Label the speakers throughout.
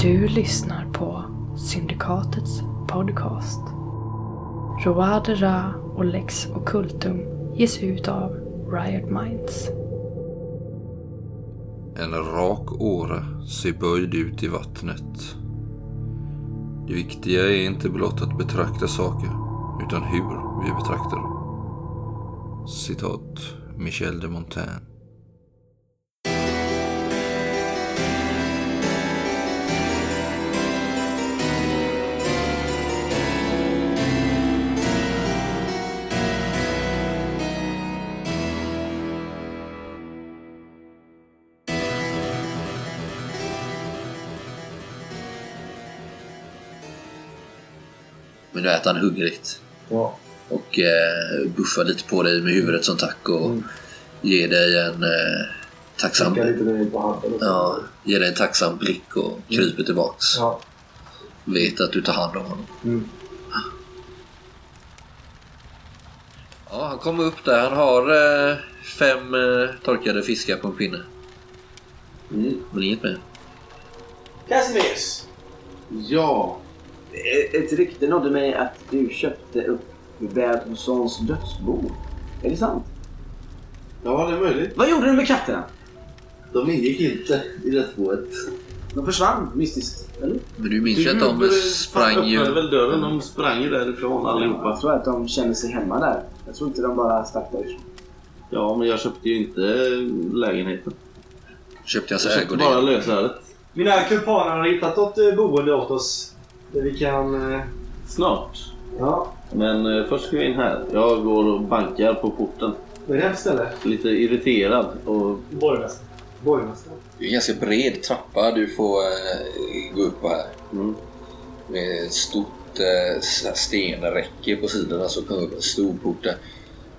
Speaker 1: Du lyssnar på Syndikatets podcast. Roade Ra och Lex Occultum ges ut av Riot Minds.
Speaker 2: En rak åre ser böjd ut i vattnet. Det viktiga är inte blott att betrakta saker, utan hur vi betraktar dem. Citat Michel de Montaigne.
Speaker 3: Men nu äter han hungrigt.
Speaker 4: Ja.
Speaker 3: Och eh, buffar lite på dig med huvudet som tack och
Speaker 4: Mm.
Speaker 3: ger dig en eh, tacksam...
Speaker 4: Tackar lite nöjd på handen. och så.
Speaker 3: Ja, ger dig en tacksam blick
Speaker 5: Mm.
Speaker 3: och kryper tillbaks.
Speaker 4: Ja.
Speaker 3: Vet att du tar hand om honom.
Speaker 4: Mm.
Speaker 3: Ja, han kommer upp där. Han har eh, fem eh, torkade fiskar på en pinne.
Speaker 5: Mm.
Speaker 3: Men inget mer.
Speaker 5: Casimir!
Speaker 6: Ja. Ett rykte nådde mig att du köpte upp Bävsons dödsbo. Är det sant?
Speaker 5: Ja, det är möjligt.
Speaker 6: Vad gjorde du med katterna?
Speaker 5: De ingick inte i dödsboet.
Speaker 6: De försvann mystiskt, eller?
Speaker 3: Men du minns ju
Speaker 5: Du
Speaker 3: att de
Speaker 5: gjorde-
Speaker 3: sprang
Speaker 5: fan,
Speaker 3: ju...
Speaker 5: öppnade väl dörren. De sprang ju därifrån
Speaker 6: Jag
Speaker 5: allihopa.
Speaker 6: tror att de kände sig hemma där. Jag tror inte de bara stack därifrån.
Speaker 5: Ja, men jag köpte ju inte lägenheten.
Speaker 3: Köpte jag så
Speaker 5: Jag köpte
Speaker 3: ägodel.
Speaker 5: bara lösöret.
Speaker 7: Mina kumpaner har hittat något eh, boende åt oss. Där vi kan... eh,
Speaker 5: Snart.
Speaker 7: Ja,
Speaker 5: Men eh, först ska vi in här. Jag går och bankar på porten.
Speaker 7: vad är det här för ställe?
Speaker 5: Lite irriterad och
Speaker 7: Borgmästaren. Borgmästaren.
Speaker 3: Det är en ganska bred trappa du får eh, gå upp på här.
Speaker 5: Mm.
Speaker 3: Med ett stort eh, s- stenräcke på sidorna så kommer upp en stor port där.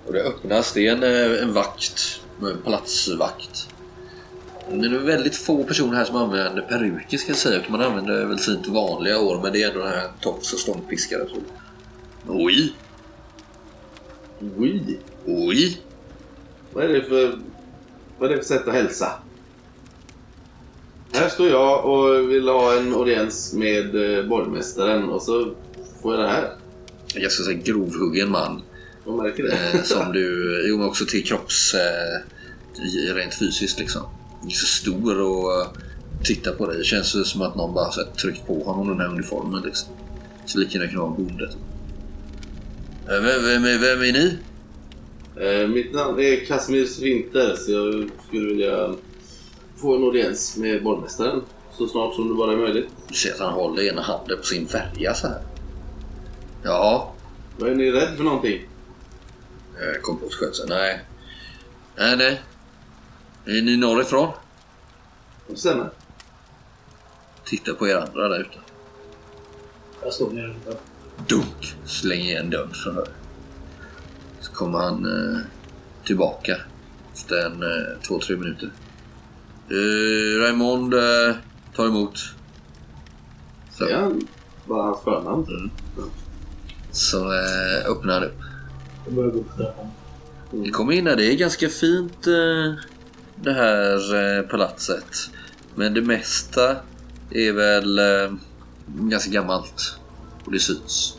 Speaker 3: Och det öppnas, det är en, eh, en vakt, en platsvakt. Men det är väldigt få personer här som använder peruker ska jag säga. utan Man använder väl fint vanliga år men det är ändå den här tofs och ståndpiskare tror jag. Oj,
Speaker 5: Oj!
Speaker 3: oj.
Speaker 5: Vad är det för... Vad är det för sätt att hälsa? Här står jag och vill ha en audiens med eh, borgmästaren och så får jag det här.
Speaker 3: Jag ska säga grovhuggen man.
Speaker 5: Jag märker
Speaker 3: Eh,
Speaker 5: det.
Speaker 3: som du, jo men också till kropps, eh, i- rent fysiskt liksom. Du är så stor och eh, tittar på dig. Det känns ju som att någon bara så här, tryckt på honom den här uniformen liksom. Så lika gärna kan vara en bonde. typ. Eh, Vem, vem, är- vem är ni?
Speaker 5: Eh, mitt namn är Casimir Winter så jag skulle vilja få en audiens med borgmästaren så snart som det bara är möjligt.
Speaker 3: Du ser att han håller ena handen på sin färja så här. Ja,
Speaker 5: Vad är ni rädd för någonting?
Speaker 3: eh, kom på sköt sig. Nej. Nej, nej. Är ni norrifrån?
Speaker 5: Det stämmer.
Speaker 3: Titta på er andra där ute.
Speaker 7: Jag står nere utanför.
Speaker 3: Dunk! Slänger igen dörren så här. Så kommer han eh, tillbaka efter en eh, två, tre minuter. Eh, Raymond eh, tar emot. Så,
Speaker 5: Säger han bara hans förnamn?
Speaker 3: så eh, öppnar han upp.
Speaker 7: Jag börjar gå upp där.
Speaker 3: Vi kommer in här. Det är ganska fint eh, det här eh, palatset. Men det mesta är väl eh, ganska gammalt och det syns.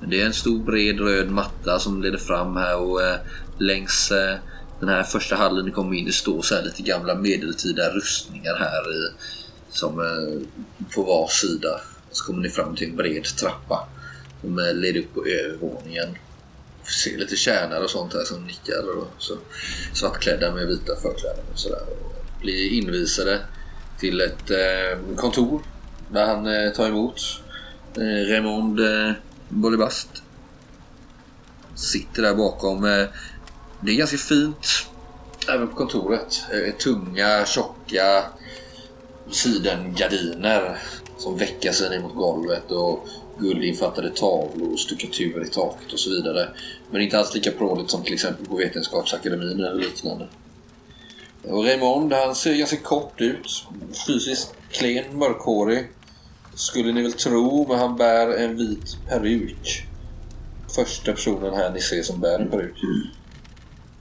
Speaker 3: Men det är en stor bred röd matta som leder fram här och eh, längs eh, den här första hallen ni kommer in det står så här lite gamla medeltida rustningar här i, som eh, på var sida. Så kommer ni fram till en bred trappa som eh, leder upp på övervåningen ser lite tjänare och sånt här som nickar och så svartklädda med vita förkläden och sådär. Och Blir invisade till ett eh, kontor där han eh, tar emot eh, Raymond eh, Bolibast. Sitter där bakom. Eh, det är ganska fint även på kontoret. Eh, tunga, tjocka sidengardiner som veckar sig ner mot golvet och guldinfattade tavlor och stuckatur i taket och så vidare. Men inte alls lika pråligt som till exempel på Vetenskapsakademin eller liknande. Och Raymond, han ser ganska kort ut. Fysiskt klen, mörkhårig. Skulle ni väl tro, men han bär en vit peruk. Första personen här ni ser som bär en peruk.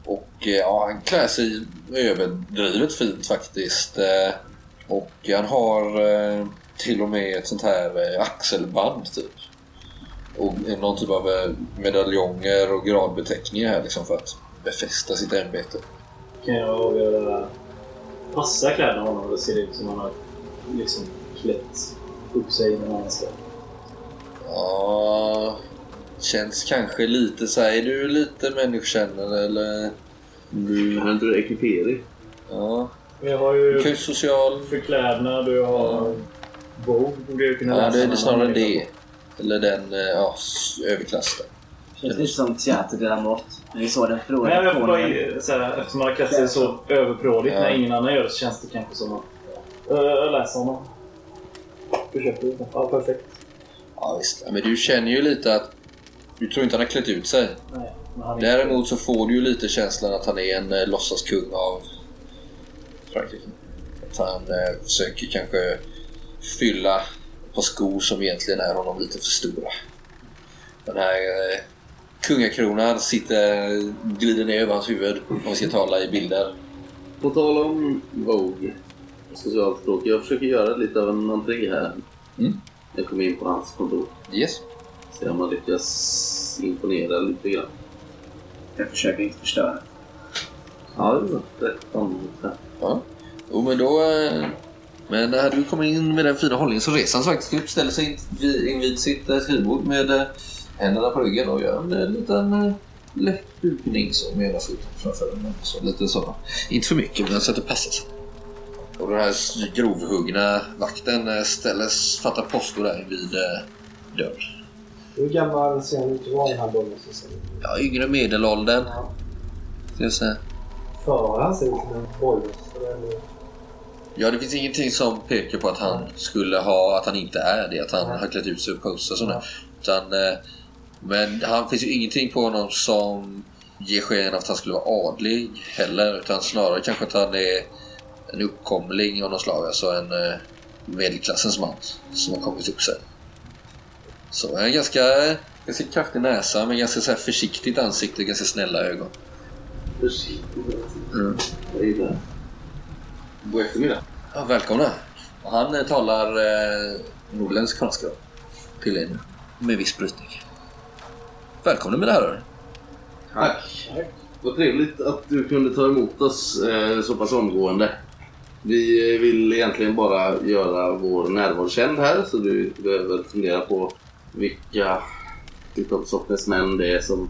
Speaker 3: Och eh, ja, han klär sig överdrivet fint faktiskt. Eh, Och han har eh, till och med ett sånt här eh, axelband typ. Och någon typ av eh, medaljonger och gradbeteckningar här liksom för att befästa sitt ämbete.
Speaker 7: Kan jag avgöra... Passar kläderna honom? Det ser ut som han har liksom klätt upp sig i någon annanstans.
Speaker 3: Ja, känns kanske lite så här, är du lite människokännare eller?
Speaker 5: Mm. Är inte det ekipering?
Speaker 3: Ja,
Speaker 7: Men jag har ju
Speaker 3: du kan ju social...
Speaker 7: förklädnad och jag har bog. Borde jag kunna
Speaker 3: Ja,
Speaker 7: läsa
Speaker 3: det är
Speaker 7: när
Speaker 3: det
Speaker 7: man
Speaker 3: snarare
Speaker 7: hittar
Speaker 3: det. Eller den eh, ja, s- överklassen.
Speaker 6: Känns lite som Teater de la Mort. När vi såg den
Speaker 7: Nej, men
Speaker 6: förlorade
Speaker 7: jag får bara,
Speaker 6: konen.
Speaker 7: ge- såhär, eftersom han kastar sig så överprådigt
Speaker 3: Ja.
Speaker 7: när ingen annan gör det så känns det kanske som att... Ö, Jag läser honom. Försöker. Ja, perfekt.
Speaker 3: Ja, visst. Ja, Men du känner ju lite att du tror inte han har klätt ut sig.
Speaker 7: Nej, men han är
Speaker 3: Däremot så får du ju lite känslan att han är en eh, låtsaskung av Frankrike. Att han eh, försöker kanske fylla ett par skor som egentligen är honom lite för stora. Den här eh, kungakronan sitter, glider ner över hans huvud om vi ska tala i bilder.
Speaker 5: På tal om Vogue, socialt språk. Jag försöker göra lite av en entré här.
Speaker 3: Mm.
Speaker 5: Jag kommer in på hans kontor.
Speaker 3: Yes.
Speaker 5: Se om han lyckas imponera lite grann.
Speaker 6: Jag försöker inte förstöra.
Speaker 5: Ja, det var 13.
Speaker 3: Ja. Jo, men då... eh, Men när du kommer in med den fina hållningen så reser han sig faktiskt upp, ställer sig invid, invid sitt eh, skrivbord med eh, händerna på ryggen och gör en eh, liten eh, lätt bugning så med ena foten framför den. Så lite så. Inte för mycket, men så att det passar sig. Och den här s- grovhuggna vakten eh, ställer, fattar posto där vid eh, dörren.
Speaker 4: Hur gammal ser han ut att vara den här bollmästaren?
Speaker 3: Ja, yngre medelåldern. Ska jag säga.
Speaker 4: För han ser ut som en bollmästare eller?
Speaker 3: Ja, det finns ingenting som pekar på att han skulle ha, att han inte är det, att han har klätt ut sig och postat och sådär. Utan, eh, men han finns ju ingenting på honom som ger sken av att han skulle vara adlig heller, utan snarare kanske att han är en uppkomling av något slag, alltså en eh, medelklassens man som har kommit upp sen. Så en ganska, ganska kraftig näsa, men ganska så här försiktigt ansikte, ganska snälla ögon.
Speaker 5: Försiktigt.
Speaker 3: Mm.
Speaker 5: Jag gillar det. God eftermiddag.
Speaker 3: Ja, välkomna. Och han eh, talar eh, norrländsk franska. Pillen. Med viss brytning. Välkomna mina herrar.
Speaker 5: Tack. Vad trevligt att du kunde ta emot oss eh, så pass omgående. Vi eh, vill egentligen bara göra vår närvaro känd här så du behöver fundera på vilka vilka sortens män det är som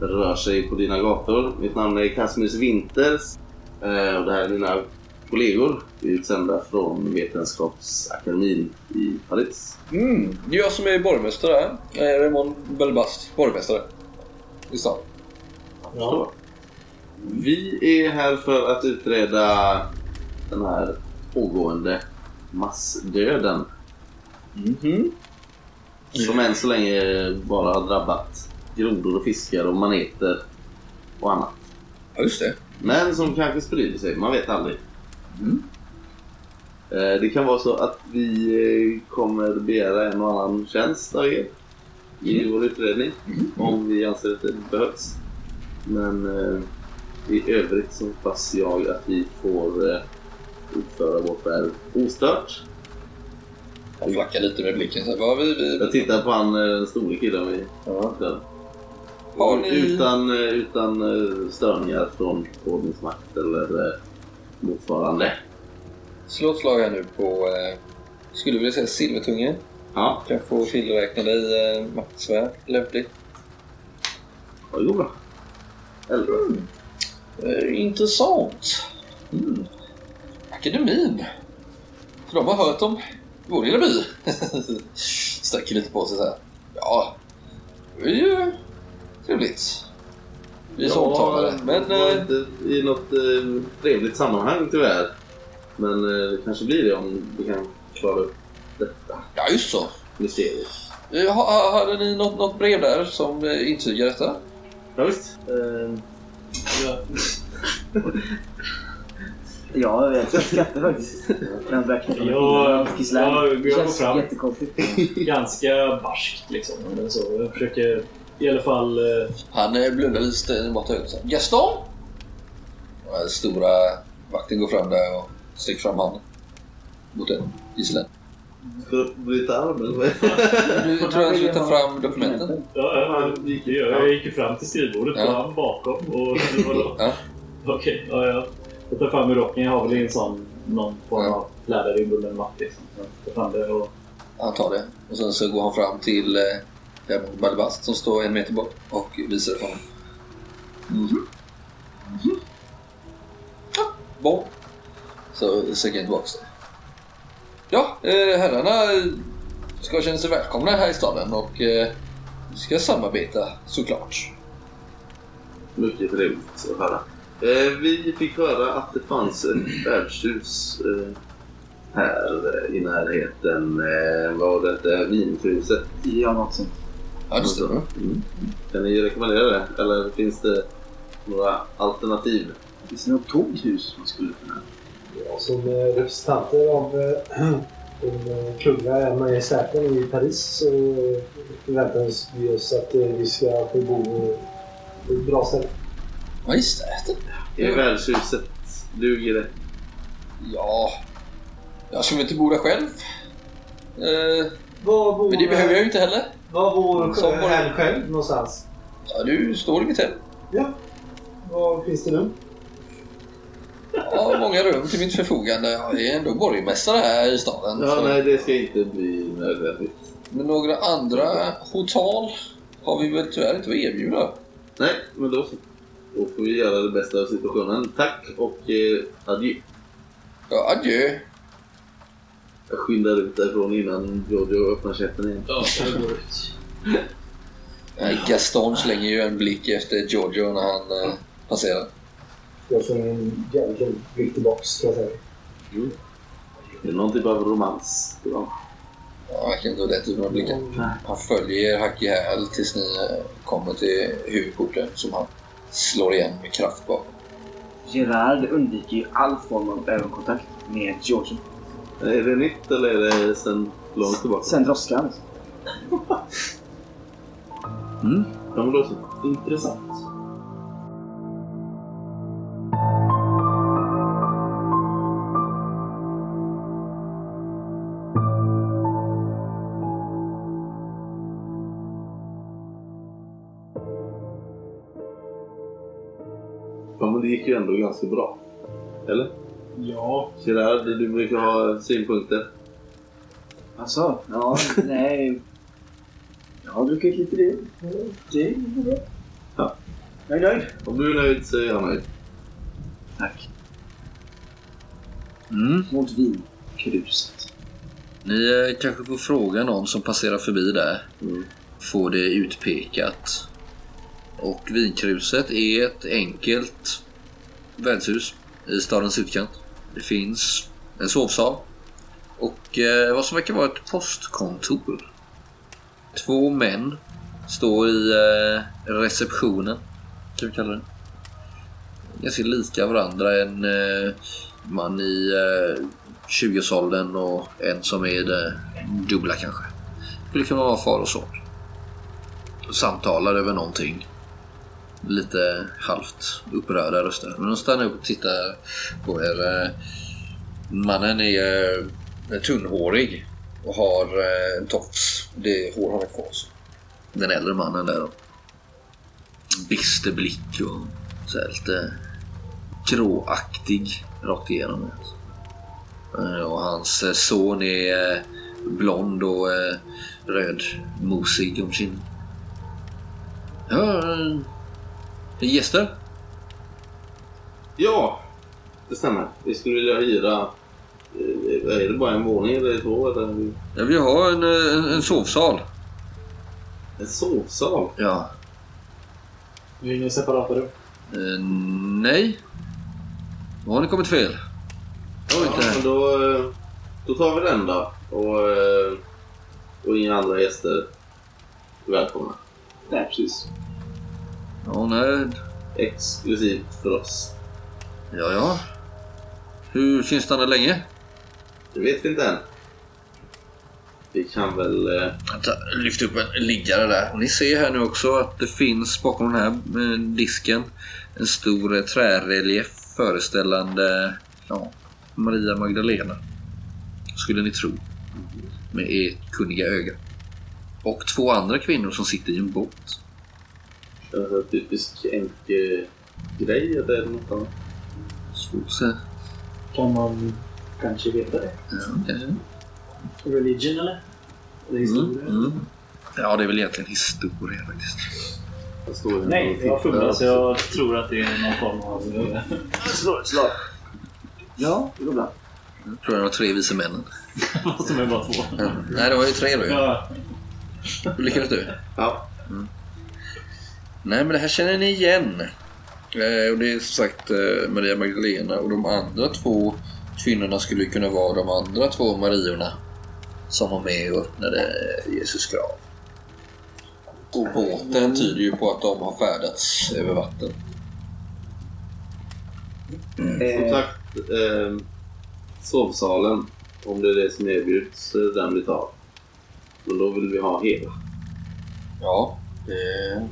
Speaker 5: rör sig på dina gator. Mitt namn är Casmus Winters eh, och det här är mina kollegor. Vi är utsända från Vetenskapsakademin i Paris.
Speaker 3: Mm, det är jag som är borgmästare här. Raymond Belbast, borgmästare. I stan.
Speaker 5: Så. Vi är här för att utreda den här pågående massdöden. Som än så länge bara har drabbat grodor och fiskar och maneter och annat.
Speaker 3: Ja, just det.
Speaker 5: Men som kanske sprider sig, man vet aldrig. Eh, Det kan vara så att vi eh, kommer begära en och annan tjänst av er i vår utredning. Om vi anser att det behövs. Men eh, i övrigt så hoppas jag att vi får eh, utföra vårt värv ostört.
Speaker 3: Han flackar lite med blicken. Så här, vad har vi, vi...
Speaker 5: Jag tittar på han eh, den store killen vi mötte.
Speaker 3: Har ni-
Speaker 5: Utan, eh, utan eh, störningar från ordningsmakt eller eh, motsvarande.
Speaker 3: Slå ett slag här nu på... Eh, skulle vilja säga silvertunge.
Speaker 5: Ja,
Speaker 3: Kan få tillräkna dig eh, maktsvärd. Lämpligt.
Speaker 5: det går bra. Elva.
Speaker 3: Eh, intressant. Mm. Akademin. För de har hört om vår lilla by. Sträcker lite på sig så här. Ja, det är ju trevligt. Vi är så omtalade. Men
Speaker 5: det var
Speaker 3: eh,
Speaker 5: inte i något eh, trevligt sammanhang tyvärr. Men eh, det kanske blir det om vi kan klara upp detta
Speaker 3: ja, just så.
Speaker 5: mysteriet.
Speaker 3: Eh, ha- ha- Hade ni något, något brev där som eh, intygar detta?
Speaker 5: Ja, visst. Eh,
Speaker 6: Ja, jag skrattar faktiskt. Den verkar som
Speaker 7: Ja,
Speaker 6: en kissland.
Speaker 7: ja, vi går
Speaker 6: Det känns
Speaker 7: fram.
Speaker 6: jättekonstigt.
Speaker 7: ganska barskt liksom. Eller så. Jag försöker i alla fall... eh,
Speaker 3: Han eh, blundar lite mot ögonen. så här, Gaston? Och den stora vakten går fram där och sträcker fram handen. Mot en gisslan.
Speaker 5: Ska du bryta armen?
Speaker 3: Du tror jag ska ta fram dokumenten?
Speaker 7: Ja, ja, men det gör jag. Jag gick ju fram till skrivbordet,
Speaker 3: Ja.
Speaker 7: fram bakom och... Vadå?
Speaker 3: Ja.
Speaker 7: Okej, ja, ja. Jag tar fram rocken. Jag har väl en sån, någon form
Speaker 3: Ja.
Speaker 7: av läderring under en mapp liksom. Jag tar fram det och...
Speaker 3: Han tar det. Och sen så går han fram till eh, Diamond Balbast som står en meter bort och visar det för honom. Mhm. Mhm. Ja, Bon. Så söker han tillbaka det. Ja, eh, herrarna ska känna sig välkomna här i staden och eh, vi ska samarbeta såklart.
Speaker 5: Mycket trevligt att höra. Eh, vi fick höra att det fanns ett värdshus eh, här eh, i närheten. Eh, vad var det hette? Vinhuset?
Speaker 6: Ja, något sånt.
Speaker 3: Ja, det stämmer.
Speaker 5: Mm. Kan ni rekommendera det? Eller finns det några alternativ?
Speaker 6: Finns det något tomt hus man skulle kunna...
Speaker 4: Ja, som eh, representanter av eh, den eh, kungliga majestäten i Paris så eh, förväntar vi oss- vi oss att eh, vi ska få bo eh, på ett bra ställe.
Speaker 3: Ja, just det.
Speaker 5: Är värdshuset duger det?
Speaker 3: Ja, jag skulle inte bo där själv. Eh,
Speaker 4: Var bor,
Speaker 3: men det behöver jag ju inte heller.
Speaker 4: var bor
Speaker 3: Som
Speaker 4: sjö-
Speaker 3: var-
Speaker 4: herrn själv någonstans?
Speaker 3: Ja, du står i mitt hem.
Speaker 4: Var finns det rum?
Speaker 3: Jag har många rum till mitt förfogande. Jag är ändå borgmästare här i staden.
Speaker 5: Ja,
Speaker 3: så-
Speaker 5: nej, det ska inte bli nödvändigt.
Speaker 3: Men några andra hotell har vi väl tyvärr inte att erbjuda.
Speaker 5: Nej, men då så. Då får vi göra det bästa av situationen. Tack och eh, adjö.
Speaker 3: Ja, adjö.
Speaker 5: Jag skyndar ut därifrån innan Jojo öppnar käften igen.
Speaker 7: Ja, jag går ut.
Speaker 3: Nej, Gaston slänger ju en blick efter Giorgio när han eh, passerar.
Speaker 4: Jag slänger en jävligt blick tillbaks kan jag säga.
Speaker 5: Det är någon typ av romans. Ja.
Speaker 3: Ja, verkligen då den typen av blickar. Han följer er hack i häl tills ni eh, kommer till huvudporten som han slår igen med kraft bakom.
Speaker 6: Gerard undviker ju all form av ögonkontakt med George.
Speaker 5: Är det nytt eller är det sen långt tillbaka?
Speaker 6: Sen droskar han.
Speaker 5: Ja, men då så. Intressant. Ja, men det gick ju ändå ganska bra. Eller?
Speaker 7: Ja,
Speaker 5: Gerard, du brukar ha synpunkter.
Speaker 6: Alltså, ja, nej. Jag har druckit lite det. Det är bra.
Speaker 5: Ja.
Speaker 6: Jag är nöjd.
Speaker 5: Om du är nöjd så är jag nöjd.
Speaker 6: Tack.
Speaker 3: Mm.
Speaker 6: Mot vinkruset.
Speaker 3: Ni eh, kanske får fråga någon som passerar förbi där.
Speaker 5: Mm.
Speaker 3: Får det utpekat. Och vinkruset är ett enkelt värdshus i stadens utkant. Det finns en sovsal och eh, vad som verkar vara ett postkontor. Två män står i eh, receptionen, kan vi kalla det. Ganska lika varandra. En eh, man i eh, 20-årsåldern och en som är det dubbla kanske. Skulle kunna vara far och son. Samtalar över någonting. Lite halvt upprörda röster. Men de stannar upp och tittar på er. eh. Mannen är eh, tunnhårig och har eh, en tofs. Det är hår han har kvar. så. Den äldre mannen där då. Bister blick och så här lite gråaktig rakt igenom. Eh, Och hans eh, son är eh, blond och eh, rödmosig om kinden. Ja, eh, gäster?
Speaker 5: Ja, det stämmer. Vi skulle vilja hyra... eh, Är det bara en våning eller två? Eller
Speaker 3: Jag vill ha en, eh, en, en sovsal.
Speaker 5: en sovsal?
Speaker 3: Ja.
Speaker 7: det är ingen separata rum.
Speaker 3: Eh, nej. Då har ni kommit fel. Det var
Speaker 5: Ja,
Speaker 3: inte...
Speaker 5: men då, eh, då tar vi den då. Och, eh, och inga andra gäster. Välkomna.
Speaker 6: Nej, precis.
Speaker 3: Ja, nej.
Speaker 5: Exklusivt för oss.
Speaker 3: Ja, ja. Hur finns stanna länge?
Speaker 5: Det vet vi inte än. Vi kan väl... eh,
Speaker 3: Vänta, lyft upp en liggare där. Och ni ser här nu också att det finns bakom den här eh, disken en stor eh, trärelief föreställande ja, Maria Magdalena. Skulle ni tro. med ert kunniga öga. Och två andra kvinnor som sitter i en båt.
Speaker 5: Känns det typisk änkegrej eller är det något annat?
Speaker 3: Svårt att säga.
Speaker 7: Kan man kanske veta det?
Speaker 3: Ja, kanske.
Speaker 7: Religion eller? Eller historia?
Speaker 3: Mm, mm. ja, det är väl egentligen historia faktiskt.
Speaker 5: Jag står här
Speaker 7: Nej,
Speaker 5: och
Speaker 7: jag
Speaker 5: tittar.
Speaker 7: fumlar så jag tror att det är någon form av... eh,
Speaker 6: Slå ett slag. Ja, rulla.
Speaker 3: Jag tror jag det var tre vise männen.
Speaker 7: Fast de är bara två.
Speaker 3: Nej, det var ju tre då ju.
Speaker 7: Ja.
Speaker 3: Hur lyckades du?
Speaker 5: Ja.
Speaker 3: Nej, men det här känner ni igen. Eh, och det är som sagt eh, Maria Magdalena och de andra två kvinnorna skulle ju kunna vara de andra två Mariorna som var med och öppnade Jesus grav. Och båten tyder ju på att de har färdats över vatten.
Speaker 5: Som
Speaker 6: Eh,
Speaker 5: sagt, eh, sovsalen, om det är det som erbjuds, eh, den vi tar. Men då vill vi ha hela.
Speaker 3: Ja, det...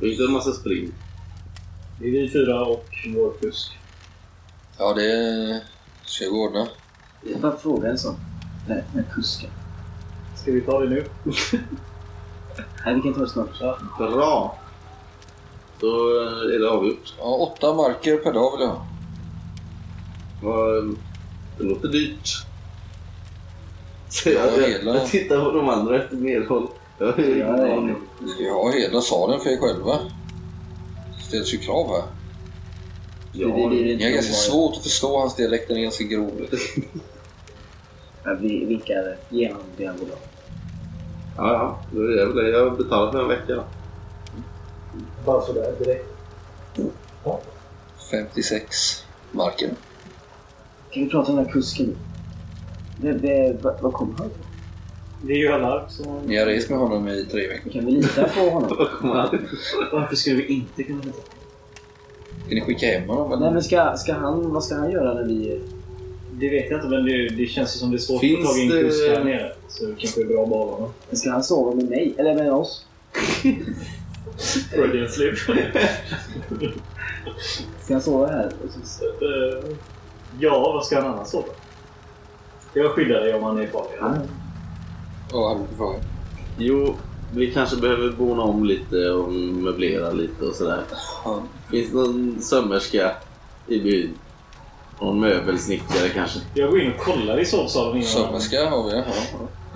Speaker 5: Och inte en massa spring.
Speaker 7: Det är vi fyra och vår kusk.
Speaker 3: Ja, det ska jag ordna.
Speaker 6: jag bara fråga en sak. Den här- den här kusken.
Speaker 7: Ska vi ta det nu?
Speaker 6: Nej, vi kan ta det snart.
Speaker 5: Bra! Då eh, är det avgjort.
Speaker 3: Ja, åtta marker per dag vill jag ha.
Speaker 5: Vad- ehm, Det låter dyrt. Så
Speaker 3: Ja,
Speaker 5: jag, jag,
Speaker 3: hela.
Speaker 5: jag tittar på de andra efter medhåll. Jag har ingen
Speaker 6: Ja,
Speaker 5: aning.
Speaker 3: Ni vill ju ha hela salen för er själva. Det ställs ju krav här.
Speaker 5: Ja,
Speaker 6: Det- det blir
Speaker 5: det-
Speaker 6: inte
Speaker 3: Jag har ganska
Speaker 6: ovanligt.
Speaker 3: svårt att förstå hans dialekt, den är ganska grov.
Speaker 6: Ja, Vi vinkar genom dina bolag.
Speaker 5: ja, ja, då är det väl det. Jag har betalat för en vecka. då.
Speaker 4: Bara sådär direkt.
Speaker 3: 56 marken.
Speaker 6: Kan vi prata om den här kusken nu? Det, det, vad, vad kommer han ifrån?
Speaker 7: Det är ju Allarp som...
Speaker 3: Ni har rest med honom i tre veckor.
Speaker 6: Kan vi lita på honom?
Speaker 7: Varför skulle vi inte kunna veta?
Speaker 3: Kan ni skicka hem honom?
Speaker 6: Nej
Speaker 3: Eller?
Speaker 6: men ska, ska han, vad ska han göra när vi...
Speaker 7: Det vet jag inte, men det, det känns ju som det är svårt
Speaker 5: Finns
Speaker 7: att få tag i en
Speaker 5: det-
Speaker 7: kusk här nere. Så det kanske är bra att bara ha honom.
Speaker 6: Ska han sova med mig? Eller med oss?
Speaker 7: Freudian slip.
Speaker 6: Ska han sova här? Och så-
Speaker 7: Eh, ja, vad ska han annars sova? Jag skyddar dig om han är farlig.
Speaker 3: Ja, han fick fråga.
Speaker 5: Jo, vi kanske behöver bona om lite och möblera lite och sådär.
Speaker 3: Ja.
Speaker 5: Finns det någon sömmerska i byn? Någon möbelsnickare kanske?
Speaker 7: Jag går in och kollar i sovsalen innan.
Speaker 3: Sömmerska har vi. Ja.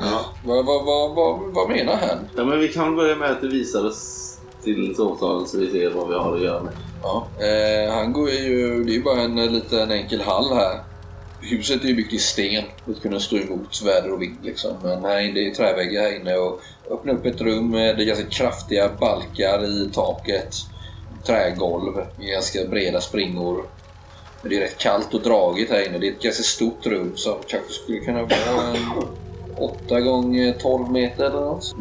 Speaker 5: Ja.
Speaker 3: Vad, vad, vad, vad, vad menar han?
Speaker 5: ja, men vi kan börja med att du visar oss till sovsalen så vi ser vad vi har att göra med.
Speaker 3: Ja. Eh, han går ju... Det är ju bara en eh, liten enkel hall här. Huset är ju byggt i sten för att kunna stå emot väder och vind. Liksom. Men här inne, det är träväggar här inne och öppna upp ett rum med det är ganska kraftiga balkar i taket. Trägolv med ganska breda springor. Men det är rätt kallt och dragigt här inne. Det är ett ganska stort rum som kanske skulle kunna vara en 8 gånger 12 meter eller något.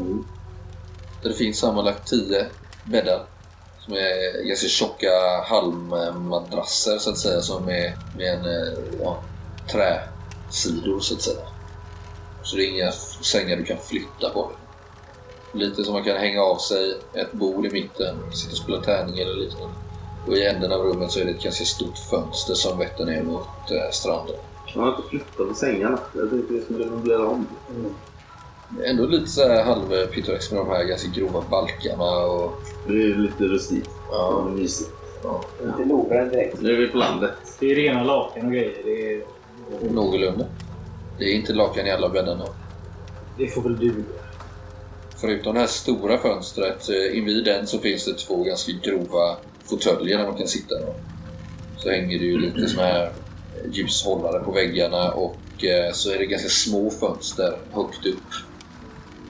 Speaker 3: Där det finns sammanlagt 10 bäddar. Som är ganska tjocka halmmadrasser så att säga som är med en eh, ja, träsidor så att säga. Så det är inga sängar du kan flytta på. Lite som man kan hänga av sig ett bord i mitten, sitta och spela tärning eller liknande. Och i änden av rummet så är det ett ganska stort fönster som vetter ner mot eh, stranden.
Speaker 5: Man har inte flyttat på sängarna. Jag tänkte vi skulle möblera om.
Speaker 3: Ändå lite så här halvpittoreskt med de här ganska grova balkarna och...
Speaker 5: Det är lite rustikt. Ja,
Speaker 3: Ja,
Speaker 5: men mysigt.
Speaker 6: Inte lodaren direkt.
Speaker 5: Nu är vi på landet.
Speaker 7: Det är rena lakan och grejer. Det, är,
Speaker 3: någorlunda. Det är inte lakan i alla bäddarna.
Speaker 7: det får väl du.
Speaker 3: Förutom det här stora fönstret, eh, invid den så finns det två ganska grova fåtöljer där man kan sitta. Då. Så hänger det ju lite såna här eh, ljushållare på väggarna och eh, så är det ganska små fönster högt upp.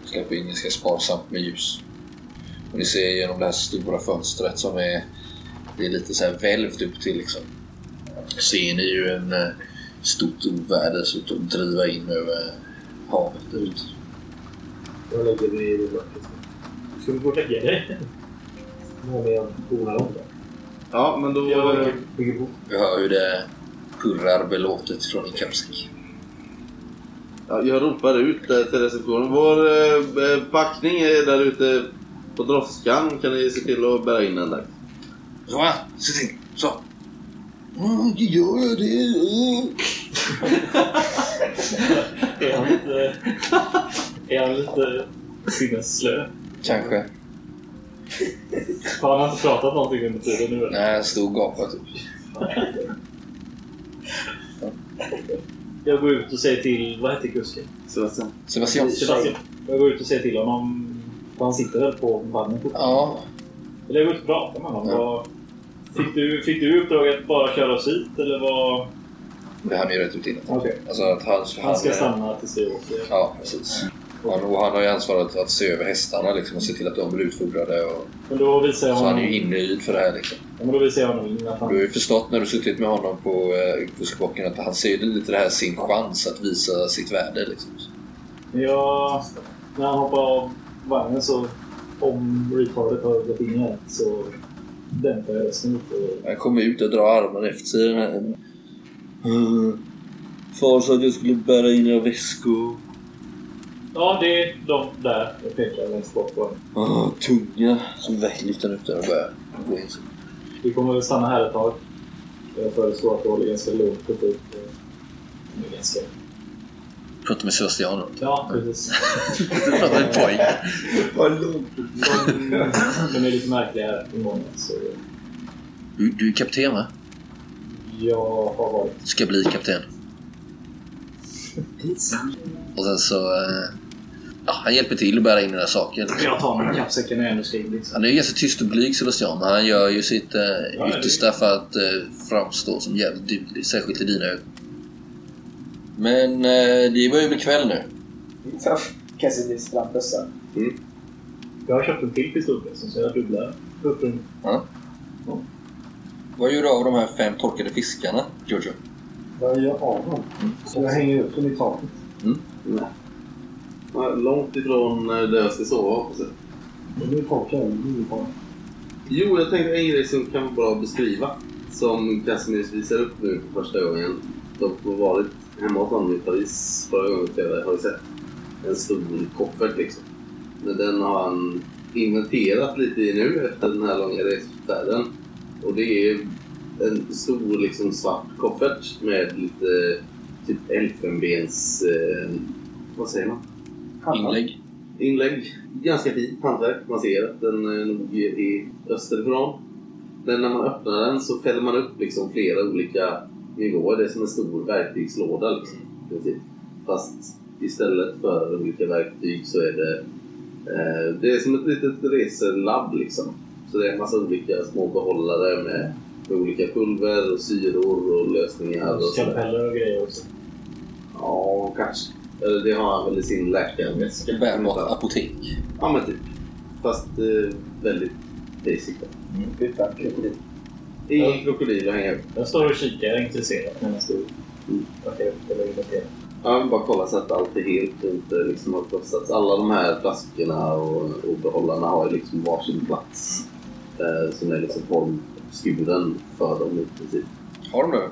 Speaker 3: Släpper in ganska sparsamt med ljus. Och ni ser genom det här stora fönstret som är, det är lite så här välvt upp till liksom. Ser ni ju en eh, stort oväder som driva in över havet ut.
Speaker 4: Jag lägger det i mörkret.
Speaker 7: Ska du gå och lägga dig?
Speaker 4: Nu har vi en bonare om det.
Speaker 5: Ja, men då...
Speaker 7: Ja.
Speaker 4: Bygger på.
Speaker 3: Vi hör hur det purrar belåtet från en kappsäck.
Speaker 5: Ja, jag ropar ut där till receptionen. Vår eh, packning är där ute på droskan. Kan ni se till att bära in den där?
Speaker 3: Så va? Se till! Så! Mm, det gör jag det.
Speaker 7: Är han, lite... Är han lite sinnesslö?
Speaker 3: Kanske.
Speaker 7: För han har inte pratat någonting under tiden nu. eller?
Speaker 3: Nej, en stor gapa typ.
Speaker 7: Jag går ut och säger till... Vad heter kusken?
Speaker 5: Sebastian.
Speaker 3: Sebastian.
Speaker 7: Sebastian. Jag går ut och säger till honom. för Han sitter väl på vagnen fortfarande?
Speaker 3: Ja,
Speaker 7: Eller jag går ut och pratar med honom.
Speaker 3: Ja.
Speaker 7: Vad- Fick, du, fick du uppdraget att bara köra oss hit eller vad...
Speaker 3: det hann ju rätt ut innan.
Speaker 7: Okej.
Speaker 3: Alltså att han...
Speaker 7: Han ska stanna tills vi åker.
Speaker 3: Ja, precis. Han, och han har ju ansvaret att se över hästarna liksom, och se till att de blir utfodrade. Och,
Speaker 7: Men då visar jag
Speaker 3: så han är
Speaker 7: honom...
Speaker 3: ju inhyrd för det här. Liksom.
Speaker 7: Ja, men då visar jag honom in att
Speaker 3: Och Du har
Speaker 7: han...
Speaker 3: ju förstått när du suttit med honom på eh, kuskbocken att han ser ju lite det här sin chans att visa sitt värde. Liksom.
Speaker 7: Ja, när han hoppar av vagnen så... Om retardet har gått in i den så dämpar jag rösten lite. och-
Speaker 3: Han kommer ut och drar armen efter sig. den här- Far sa att jag skulle bära in era väskor.
Speaker 7: Ja, det är de där. Jag pekar längst bort på den.
Speaker 3: Ah, tunga. Så lyfter han upp den och börjar gå in.
Speaker 7: Vi kommer väl stanna här ett tag. Jag föreslår att du håller ganska lugnt och typ... eh, det är Ganska...
Speaker 3: Prata med Sebastian då.
Speaker 7: Ja, precis.
Speaker 3: Du pratar med pojk.
Speaker 7: De är lite märkliga här i morgon, så
Speaker 3: Du, du är kapten va?
Speaker 7: jag har varit...
Speaker 3: Du ska bli kapten. Och sen så... eh, Ja, han hjälper till att bära in några saker.
Speaker 7: Jag tar mig kappsäcken när jag nu ska in. Liksom.
Speaker 3: Han är ju ganska tyst och blyg Sebastian, men han gör ju sitt eh,
Speaker 7: Ja, det-
Speaker 3: yttersta för att eh, framstå som jävligt duglig, särskilt i dina ögon. Men eh, det var ju väl kväll nu.
Speaker 8: Cassidys brandbössa.
Speaker 7: Jag har köpt en till pistol liksom, så jag dubblar upp en...
Speaker 3: Vad gör du av de här fem torkade fiskarna, Giorgio?
Speaker 4: Vad gör jag av dem?
Speaker 7: Mm.
Speaker 4: Jag hänger upp dem i taket.
Speaker 5: Ja, Långt ifrån eh, där jag ska sova hoppas jag.
Speaker 4: De är torkade. Det är ju bra.
Speaker 5: Jo, jag tänkte en grej som kan vara bra att beskriva. Som Casimir visar upp nu för första gången. De har varit hemma hos honom i Paris förra gången vi spelade, har vi sett. En stor koffert liksom. Men den har han inventerat lite i nu efter den här långa resfärden. Och det är en stor liksom svart koffert med lite typ elfenbens... Eh, vad säger man?
Speaker 3: Inlägg?
Speaker 5: inlägg. Ganska fint hantverk. Man ser att den eh, nog är österifrån. Men när man öppnar den så fäller man upp liksom flera olika nivåer. Det är som en stor verktygslåda. Liksom, i princip. Fast istället för olika verktyg så är det... Eh, det är som ett litet reselabb. Liksom. Så det är en massa olika små behållare med, med olika pulver och syror och lösningar. Och sådär.
Speaker 7: Skalpeller och grejer också.
Speaker 5: ja, kanske. Eller det har han väl i sin läkarväska.
Speaker 3: Bärbart
Speaker 5: ungefär.
Speaker 3: apotek.
Speaker 5: Ja men typ. Fast eh, väldigt basic. då.
Speaker 8: Utan krokodil.
Speaker 5: Ingen krokodil att hänga upp.
Speaker 7: Jag står och kikar intresserat medan du
Speaker 5: Mm.
Speaker 7: packar upp eller inventerar.
Speaker 5: Jag vill bara kolla så att allt är helt och inte liksom har krossats. Alla de här flaskorna och, och behållarna har ju liksom varsin plats. Eh, som är liksom formskuren för dem i princip.
Speaker 3: Har de det?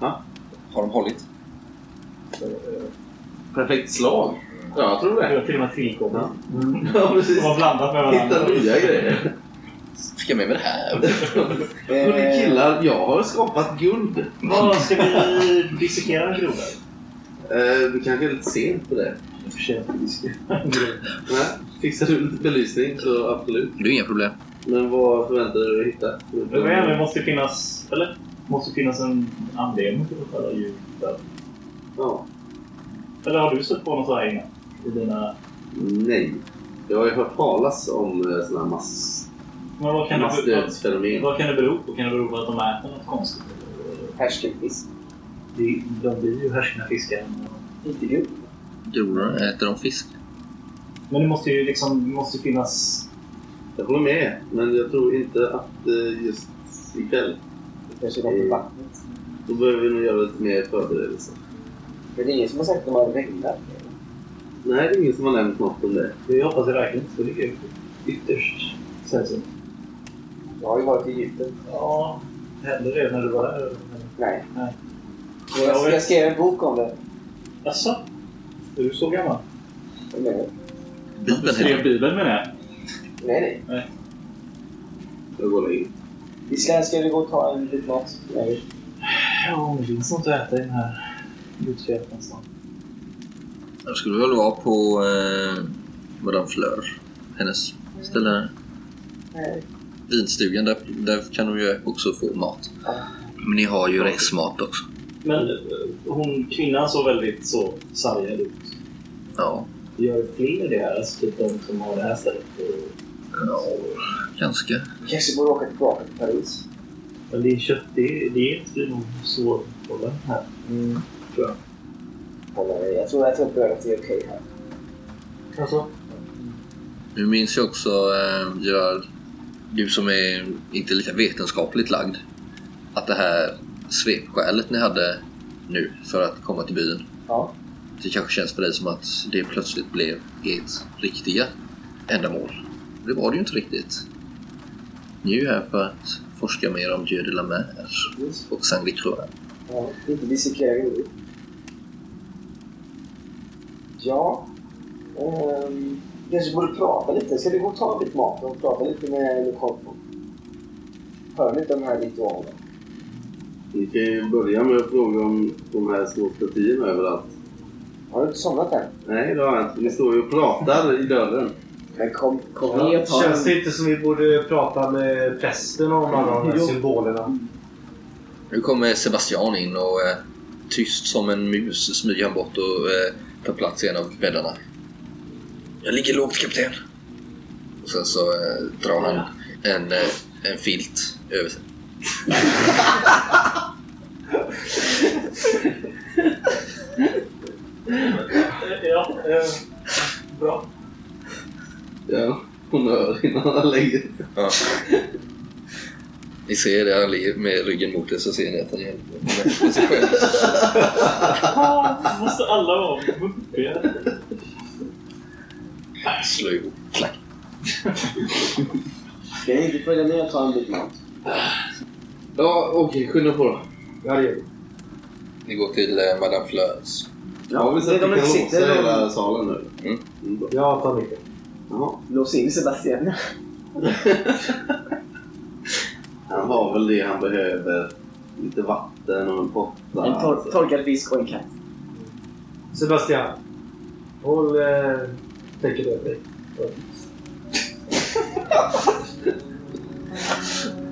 Speaker 5: Ja.
Speaker 3: Har de hållit?
Speaker 5: Perfekt slag! Ja, jag tror
Speaker 7: Du
Speaker 5: det.
Speaker 7: har till och med tillkommit.
Speaker 5: Ja. Ja, precis.
Speaker 7: De har blandat med
Speaker 5: Hitta
Speaker 7: varandra.
Speaker 5: nya grejer.
Speaker 3: Fick jag med mig det här?
Speaker 5: Hörni killar, jag har skapat guld.
Speaker 7: Vad, ska vi dissekera en groda?
Speaker 5: Eh, du kanske är lite sent på det. Nej, fixar du lite belysning så absolut.
Speaker 3: Det är inga problem.
Speaker 5: Men vad förväntar du dig att hitta?
Speaker 7: Men vad är det? Det måste ju finnas... Eller? Det måste finnas en anledning till att alla ljud där.
Speaker 5: Ja.
Speaker 7: Eller har du sett på något så här innan? I dina...
Speaker 5: Nej. Jag har ju hört talas om sådana här mass,
Speaker 7: Men vad kan, det, bero-
Speaker 5: massdödsfenomen.
Speaker 7: vad kan det bero på? Kan det bero på att de äter något konstigt?
Speaker 8: Härskenfisk.
Speaker 7: De, de blir ju härskna fiskar.
Speaker 8: Inte gud.
Speaker 3: Grodor äter de fisk?
Speaker 7: Men det måste ju liksom det måste ju finnas...
Speaker 5: Jag håller med, men jag tror inte att eh, just ikväll.
Speaker 8: Kanske något i vattnet.
Speaker 5: Då behöver vi nog göra lite mer förberedelser.
Speaker 8: Men det är ingen som har sagt att de har regnat.
Speaker 5: Nej, det är ingen som har nämnt något om det.
Speaker 7: Det hoppas jag verkligen inte. Det är ytterst sällsynt.
Speaker 8: Jag har ju varit i Egypten.
Speaker 7: Ja, hände det när du var här?
Speaker 8: Nej.
Speaker 7: Nej.
Speaker 8: Jag, jag skrev en bok om det.
Speaker 7: Jaså? Är du så gammal?
Speaker 8: Jag menar,
Speaker 3: Bibeln heter det.
Speaker 7: Bibeln menar jag.
Speaker 8: Nej, nej.
Speaker 5: Jag går in.
Speaker 8: Vi ska, ska vi gå och ta en liten mat? Nej.
Speaker 7: Ja, det finns något att äta i den här gudskärpan snart.
Speaker 3: Jag skulle väl vara på eh, Madame Fleur. Hennes ställe där.
Speaker 8: Nej.
Speaker 3: Vinstugan, där, där kan de ju också få mat. Men ni har ju resmat också.
Speaker 7: Men eh, hon, kvinnan såg väldigt så sargad ut.
Speaker 3: Ja,
Speaker 7: Gör fler det här? Alltså typ de som har det här stället?
Speaker 3: ja ganska.
Speaker 8: Vi kanske borde åka tillbaka till Paris.
Speaker 7: Men det är kött, det, det är inte nog svårt att hålla här.
Speaker 4: Mm.
Speaker 8: Kolla, Jag tror, jag tror inte att det är okej här.
Speaker 7: Alltså,
Speaker 3: Nu minns jag också, eh, Gerard, du som är inte lika vetenskapligt lagd, att det här svepskälet ni hade nu för att komma till byn,
Speaker 8: Ja.
Speaker 3: det kanske känns för dig som att det plötsligt blev ert riktiga ändamål. Det var det ju inte riktigt. Ni är ju här för att forska mer om Dieu de la Mer och Sangre Croix.
Speaker 8: Ja, inte dissekera djur. Ja. Um, kanske borde prata lite. Ska du gå och ta lite mat och prata lite med lokalfolk? Hör lite om de här ritualerna.
Speaker 5: Vi kan ju börja med att fråga om de här små statyerna överallt.
Speaker 8: Har du inte somnat än?
Speaker 5: Nej, det har jag inte. Ni står ju och pratar i dörren.
Speaker 8: Men kom, kom
Speaker 4: Ja,
Speaker 8: ner ta en-
Speaker 4: känns det inte som vi borde prata med prästen om alla de här
Speaker 7: Jo.
Speaker 4: symbolerna?
Speaker 3: Nu kommer Sebastian in och eh, tyst som en mus smyger han bort och eh, tar plats i en av bäddarna. Jag ligger lågt kapten. Och sen så eh, drar han en, eh, en filt över sig.
Speaker 7: ja, eh, bra.
Speaker 5: Ja, hon hör innan han lägger
Speaker 3: Ja. Ni ser det, han ligger med ryggen mot er så ser ni att han hjälper med sig själv.
Speaker 7: Ah, måste alla vara muppiga?
Speaker 3: Slår ihop. Klack.
Speaker 6: Ska jag inte följa med och ta en bit mat?
Speaker 5: Ja, okej. skynda på då.
Speaker 4: Ja, det gör vi.
Speaker 3: Ni går till eh, Madame Fleurs.
Speaker 5: Ja, har vi
Speaker 6: det
Speaker 5: sett
Speaker 6: är
Speaker 5: att
Speaker 6: de
Speaker 5: vi kan
Speaker 6: inte sitter,
Speaker 5: låsa
Speaker 6: de-
Speaker 5: hela salen nu?
Speaker 3: Mm.
Speaker 5: Mm, bra.
Speaker 4: Jag tar mycket.
Speaker 5: Ja,
Speaker 6: Lås in Sebastian.
Speaker 5: han har väl det han behöver. Lite vatten och en potta. Alltså,
Speaker 6: En tor torkad fisk och en katt.
Speaker 4: Sebastian. Håll eh, täcket över dig.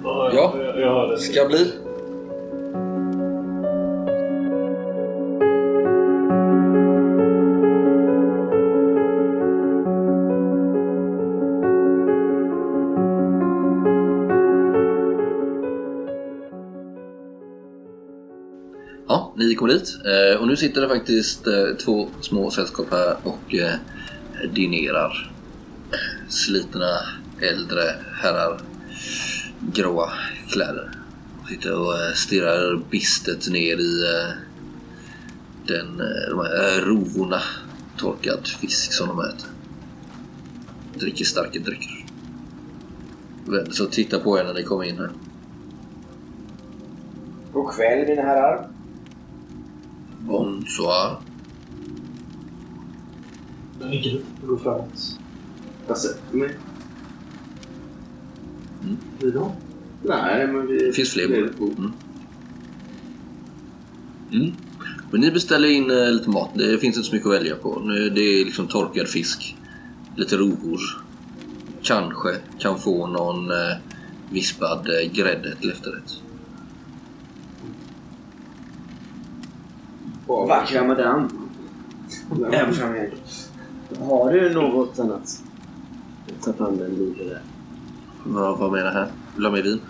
Speaker 3: Ja.
Speaker 7: jag, jag hör det.
Speaker 3: Ska bli. Ja, ni kom dit Eh, och nu sitter det faktiskt eh, två små sällskap här och eh, dinerar. eh, Slitna äldre herrar, gråa kläder. De sitter och eh, stirrar bistet ner i eh, den, eh, de här rovorna torkad fisk som de äter. Dricker starka drycker. Vänder sig och tittar på er när ni kommer in här.
Speaker 8: God kväll mina herrar.
Speaker 3: Bonsoir.
Speaker 7: Vilket går framåt.
Speaker 5: Jag sätter mig.
Speaker 3: Mm.
Speaker 5: Vi då? Nej, men vi...
Speaker 3: Det finns fler
Speaker 5: vi-
Speaker 3: bord. Mm. Mm. Men ni beställer in eh, lite mat. Det finns inte så mycket att välja på. Nu- Det är liksom torkad fisk, lite rovor. Kanske kan få någon eh, vispad eh, grädde till efterrätt.
Speaker 6: Vackra madame.
Speaker 5: Nej,
Speaker 6: Även framöver. Har du något annat? Ta fram den lite där.
Speaker 3: Vad, vad menar här? Vill du ha mer vin?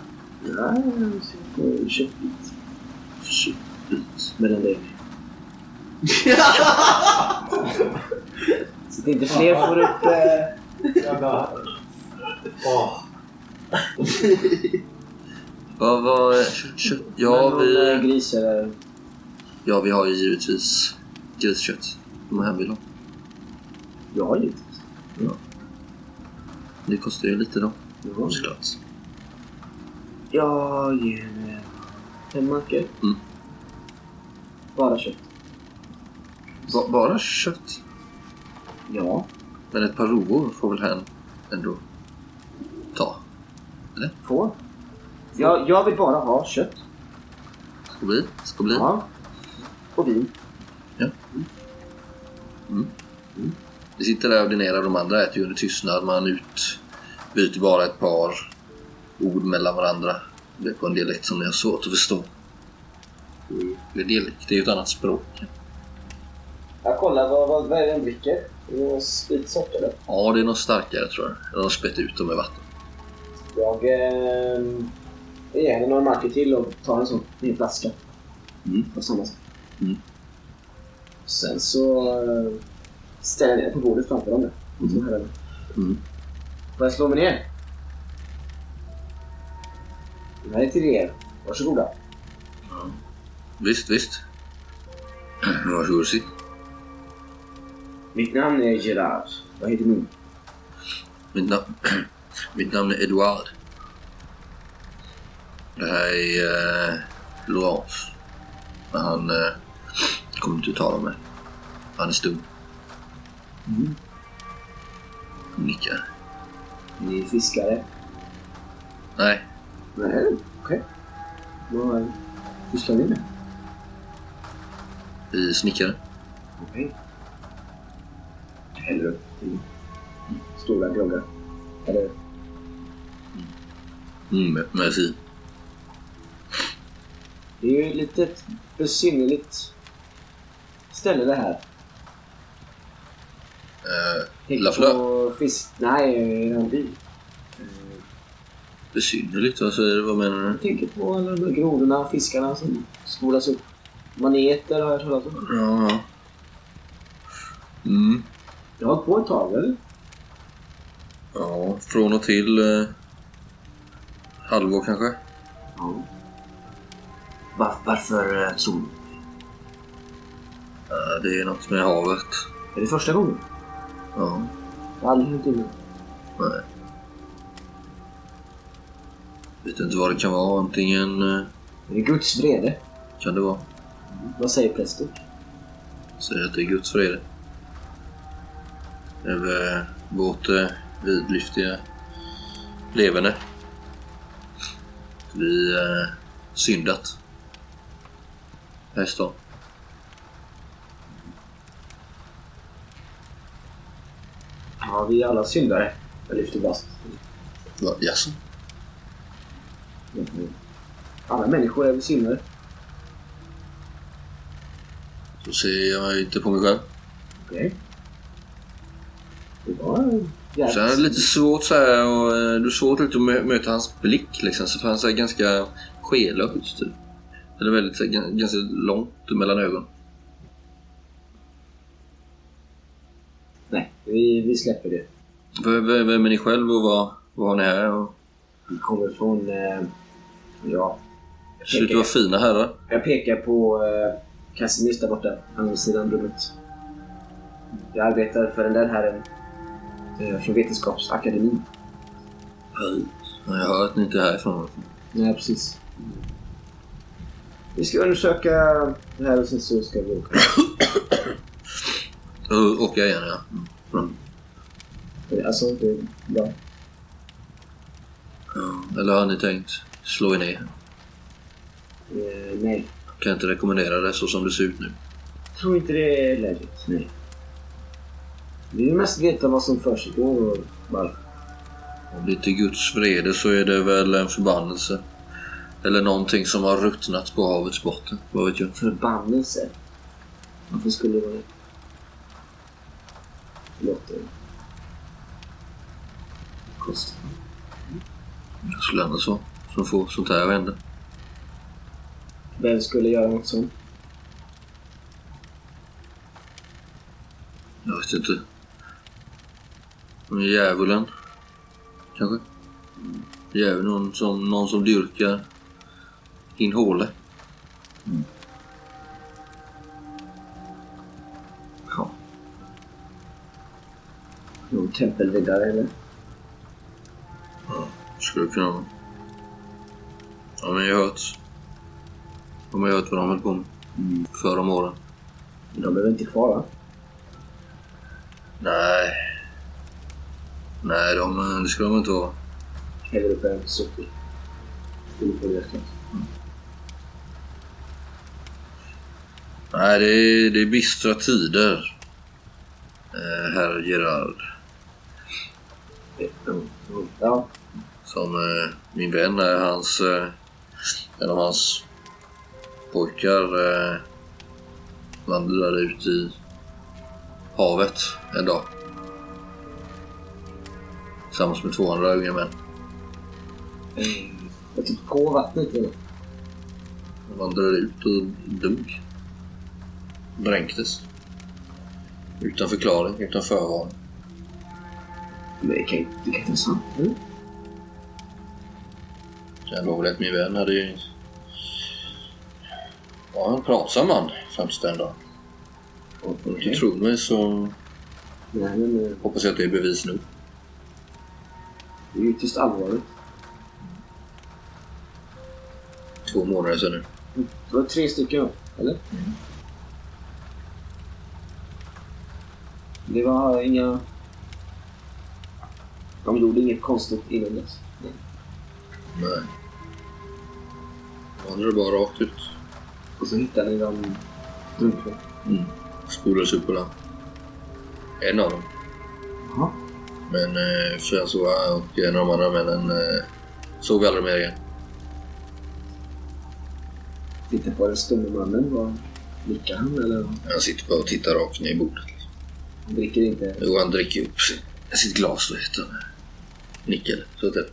Speaker 6: Ja, jag ser på köttbit.
Speaker 3: Shit.
Speaker 6: Med den där. Så att inte fler får upp... eh,
Speaker 4: Jag bara... Åh,
Speaker 3: Vad, vad, kött, kött? Ja,
Speaker 6: någon, eh,
Speaker 3: vi,
Speaker 6: Gris eller...
Speaker 3: ja, vi har ju givetvis griskött. De här vill ha.
Speaker 6: Ja, givetvis.
Speaker 3: Det kostar ju lite då,
Speaker 6: Ja.
Speaker 3: såklart.
Speaker 6: Jag ger eh, fem mackor.
Speaker 3: Mm.
Speaker 6: Bara kött.
Speaker 3: Ba, bara kött?
Speaker 6: Ja.
Speaker 3: Men ett par rovor får väl han ändå ta?
Speaker 6: Få. Jag, jag vill bara ha kött.
Speaker 3: Mm. Ska bli? Ska bli?
Speaker 6: Ja. Och vin.
Speaker 3: Ja.
Speaker 6: Mm.
Speaker 3: Vi sitter där och ordinerar, de andra äter ju under tystnad. Man utbyter bara ett par ord mellan varandra. Det är på en dialekt som är svårt att förstå. Det är dialekt, det är ju ett annat språk.
Speaker 8: Jag kollar vad, vad, vad är det de dricker? Är det någon spritsort eller?
Speaker 3: Ja, det är något starkare tror jag. Eller de har spett ut dem med vatten.
Speaker 8: Jag eh, ger henne några marker till och tar en sån liten flaska.
Speaker 3: Mm.
Speaker 8: Av samma sak.
Speaker 3: Mm.
Speaker 8: Sen så eh, ställer jag ner på bordet framför dem. där. Så här är det.
Speaker 3: Mm.
Speaker 8: Får jag slå mig ner? Det här är till er. Varsågoda.
Speaker 3: Visst, visst. Varsågod sitt.
Speaker 8: Mitt namn är Gerard. Vad heter du?
Speaker 3: Mitt, na- Mitt namn är Edouard. Det här är eh, Laurence. Men han eh, kommer inte att tala med. Han är stum. Mm. Nickar.
Speaker 8: Ni är fiskare.
Speaker 3: Nej,
Speaker 8: Nej, okej. Vad pysslar ni med?
Speaker 3: vi är snickare.
Speaker 8: Okej. Jag häller upp till stora groggar. Eller
Speaker 3: Mm, merci.
Speaker 8: Det är ju ett litet besynnerligt ställe det här.
Speaker 3: Eh,
Speaker 8: Tänk
Speaker 3: Lafleur?
Speaker 8: på fisk... Nej, eran by.
Speaker 3: besynnerligt, vad säger du? Vad menar du?
Speaker 8: Jag tänker på alla de här grodorna och fiskarna som spolas upp. Maneter har jag talat om.
Speaker 3: Ja, ja. Mm.
Speaker 8: Jag har hållit på ett tag, eller?
Speaker 3: Ja, från och till eh, halvår kanske.
Speaker 8: Ja. Var, varför eh, tror du?
Speaker 3: Eh, det är något med havet.
Speaker 8: Är det första gången?
Speaker 3: Ja.
Speaker 8: Jag har aldrig hänt innan.
Speaker 3: Nej. Vet inte vad det kan vara. Antingen eh,
Speaker 8: Är det Guds vrede?
Speaker 3: kan det vara.
Speaker 8: Vad säger prästen?
Speaker 3: Säger att det är Guds vrede. Det är väl vårt eh, vidlyftiga leverne. Vi eh, syndat. Här i stan.
Speaker 8: Ja, vi är alla syndare. Jag lyfter fast.
Speaker 3: Va, Jaså?
Speaker 8: Alla människor är väl syndare?
Speaker 3: Så ser jag inte på mig själv.
Speaker 8: Okej. Det var jävligt...
Speaker 3: Sen är det lite svårt så här, och eh, det är svårt lite att mö- möta hans blick liksom. Så för han är ganska skelögd typ. Eller väldigt, så här, gan- ganska långt mellan ögonen.
Speaker 8: Nej, vi, vi släpper det.
Speaker 3: V- v- Vem är ni själv och vad, vad har ni här? Och
Speaker 8: Vi kommer från... Eh, ja, jag
Speaker 3: ser ut att vara
Speaker 8: pekar,
Speaker 3: fina herrar.
Speaker 8: jag pekar på eh, Casimirs där borta, andra sidan rummet. Jag arbetar för den där herren eh, från Vetenskapsakademin.
Speaker 3: Men Jag hör att ni inte är härifrån.
Speaker 8: Nej, precis. Vi ska undersöka det här och sen så ska vi åka.
Speaker 3: Då åker jag igen ja.
Speaker 8: Alltså, det är bra.
Speaker 3: Ja, Eller har ni tänkt slå er ner?
Speaker 8: Eh, nej,
Speaker 3: Kan inte rekommendera det så som det ser ut nu.
Speaker 8: jag tror inte det är läget. Nej. Vi vill mest veta vad som försiggår och varför.
Speaker 3: Om det inte är Guds vrede så är det väl en förbannelse. Eller någonting som har ruttnat på havets botten. Vad vet jag?
Speaker 8: förbannelse. Varför skulle det vara det? Förlåt. eh, Konstigt.
Speaker 3: Det skulle ändå så. Som får sånt här att hända.
Speaker 8: Vem skulle göra något sånt?
Speaker 3: Jag vet inte. Men Djävulen? Kanske? Djävulen, någon som, någon som dyrkar din håle.
Speaker 8: Någon tempelriddare eller?
Speaker 3: Skulle det kunna vara. Ja, men jag har hört. De har hört vad de höll på med. Förr om åren.
Speaker 8: De är väl inte kvar va?
Speaker 3: Nej. Nej, de, det skulle de inte vara.
Speaker 8: Häller upp en soppa. Skulle på det kanske.
Speaker 3: Nej, det är, det är bistra tider. eh, herr Gerard.
Speaker 8: Ja.
Speaker 3: Som eh, min vän är hans... Eh, en av hans pojkar eh, vandrade ut i havet en dag. Tillsammans med två andra unga män.
Speaker 8: Jag typ på vattnet eller?
Speaker 3: De vandrade ut och dog. Dränktes. Utan förklaring, utan förvarning.
Speaker 8: Men det kan ju det kan inte vara sant. Mm. eller?
Speaker 3: Jag lovade att min vän hade ju... var en pratsam man fram till den dagen. Och om du inte tror mig så
Speaker 8: Nej, men eh,
Speaker 3: hoppas jag att det är bevis nog.
Speaker 8: det är ju ytterst allvarligt.
Speaker 3: Två månader sedan nu.
Speaker 8: Det var tre stycken, va? eller? Mm. Det var inga... De gjorde inget konstigt innan dess.
Speaker 3: Nej. Vandrade bara rakt ut.
Speaker 8: Och så hittade ni dem drunkna.
Speaker 3: Spolades upp på land. En av dem.
Speaker 8: Jaha.
Speaker 3: Men eh, sen så var jag och en av de andra männen eh, såg vi aldrig mer igen.
Speaker 8: Titta på den stumme mannen. Var nickar han eller?
Speaker 3: Han sitter bara och tittar rakt ner i bordet.
Speaker 8: Han dricker inte.
Speaker 3: Jo, han dricker upp sitt, sitt glas, vad heter han? Nickel. Så att det.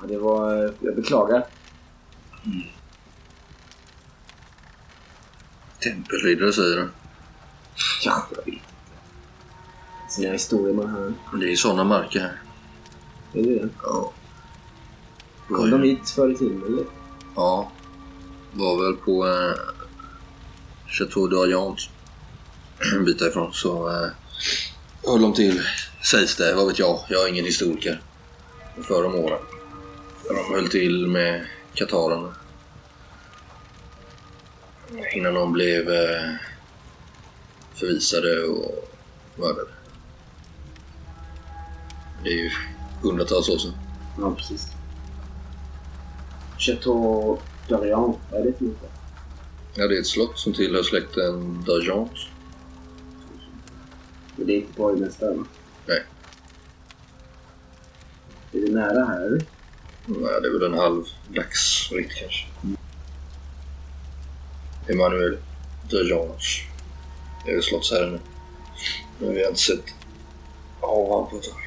Speaker 8: Ja, det var... eh, Jag beklagar.
Speaker 3: Tempelriddare säger han.
Speaker 8: Ja, jag vet. Sina historier man hör.
Speaker 3: Men det är sådana marker här.
Speaker 8: Är det det?
Speaker 3: Ja.
Speaker 8: Kom de hit förr i tiden eller?
Speaker 3: Ja. Var väl på eh, Chateau d'Orient. En bit därifrån så eh, höll de till. Sägs det, vad vet jag. Jag är ingen historiker. För de åren. De höll till med katarerna. Innan de blev eh, förvisade och mördade. Det är ju hundratals år sedan.
Speaker 8: Ja, precis. Chateau d'Orient, vad är det för något?
Speaker 3: Ja, det är ett slott som tillhör släkten d'Argent.
Speaker 8: Men det är inte borgmästaren va?
Speaker 3: Nej.
Speaker 8: Är det nära här eller?
Speaker 3: Nej, det är väl en halv dagsritt kanske. Emmanuel de Jange. Det är väl slottsherren nu. Men vi har inte sett avan på ett tag.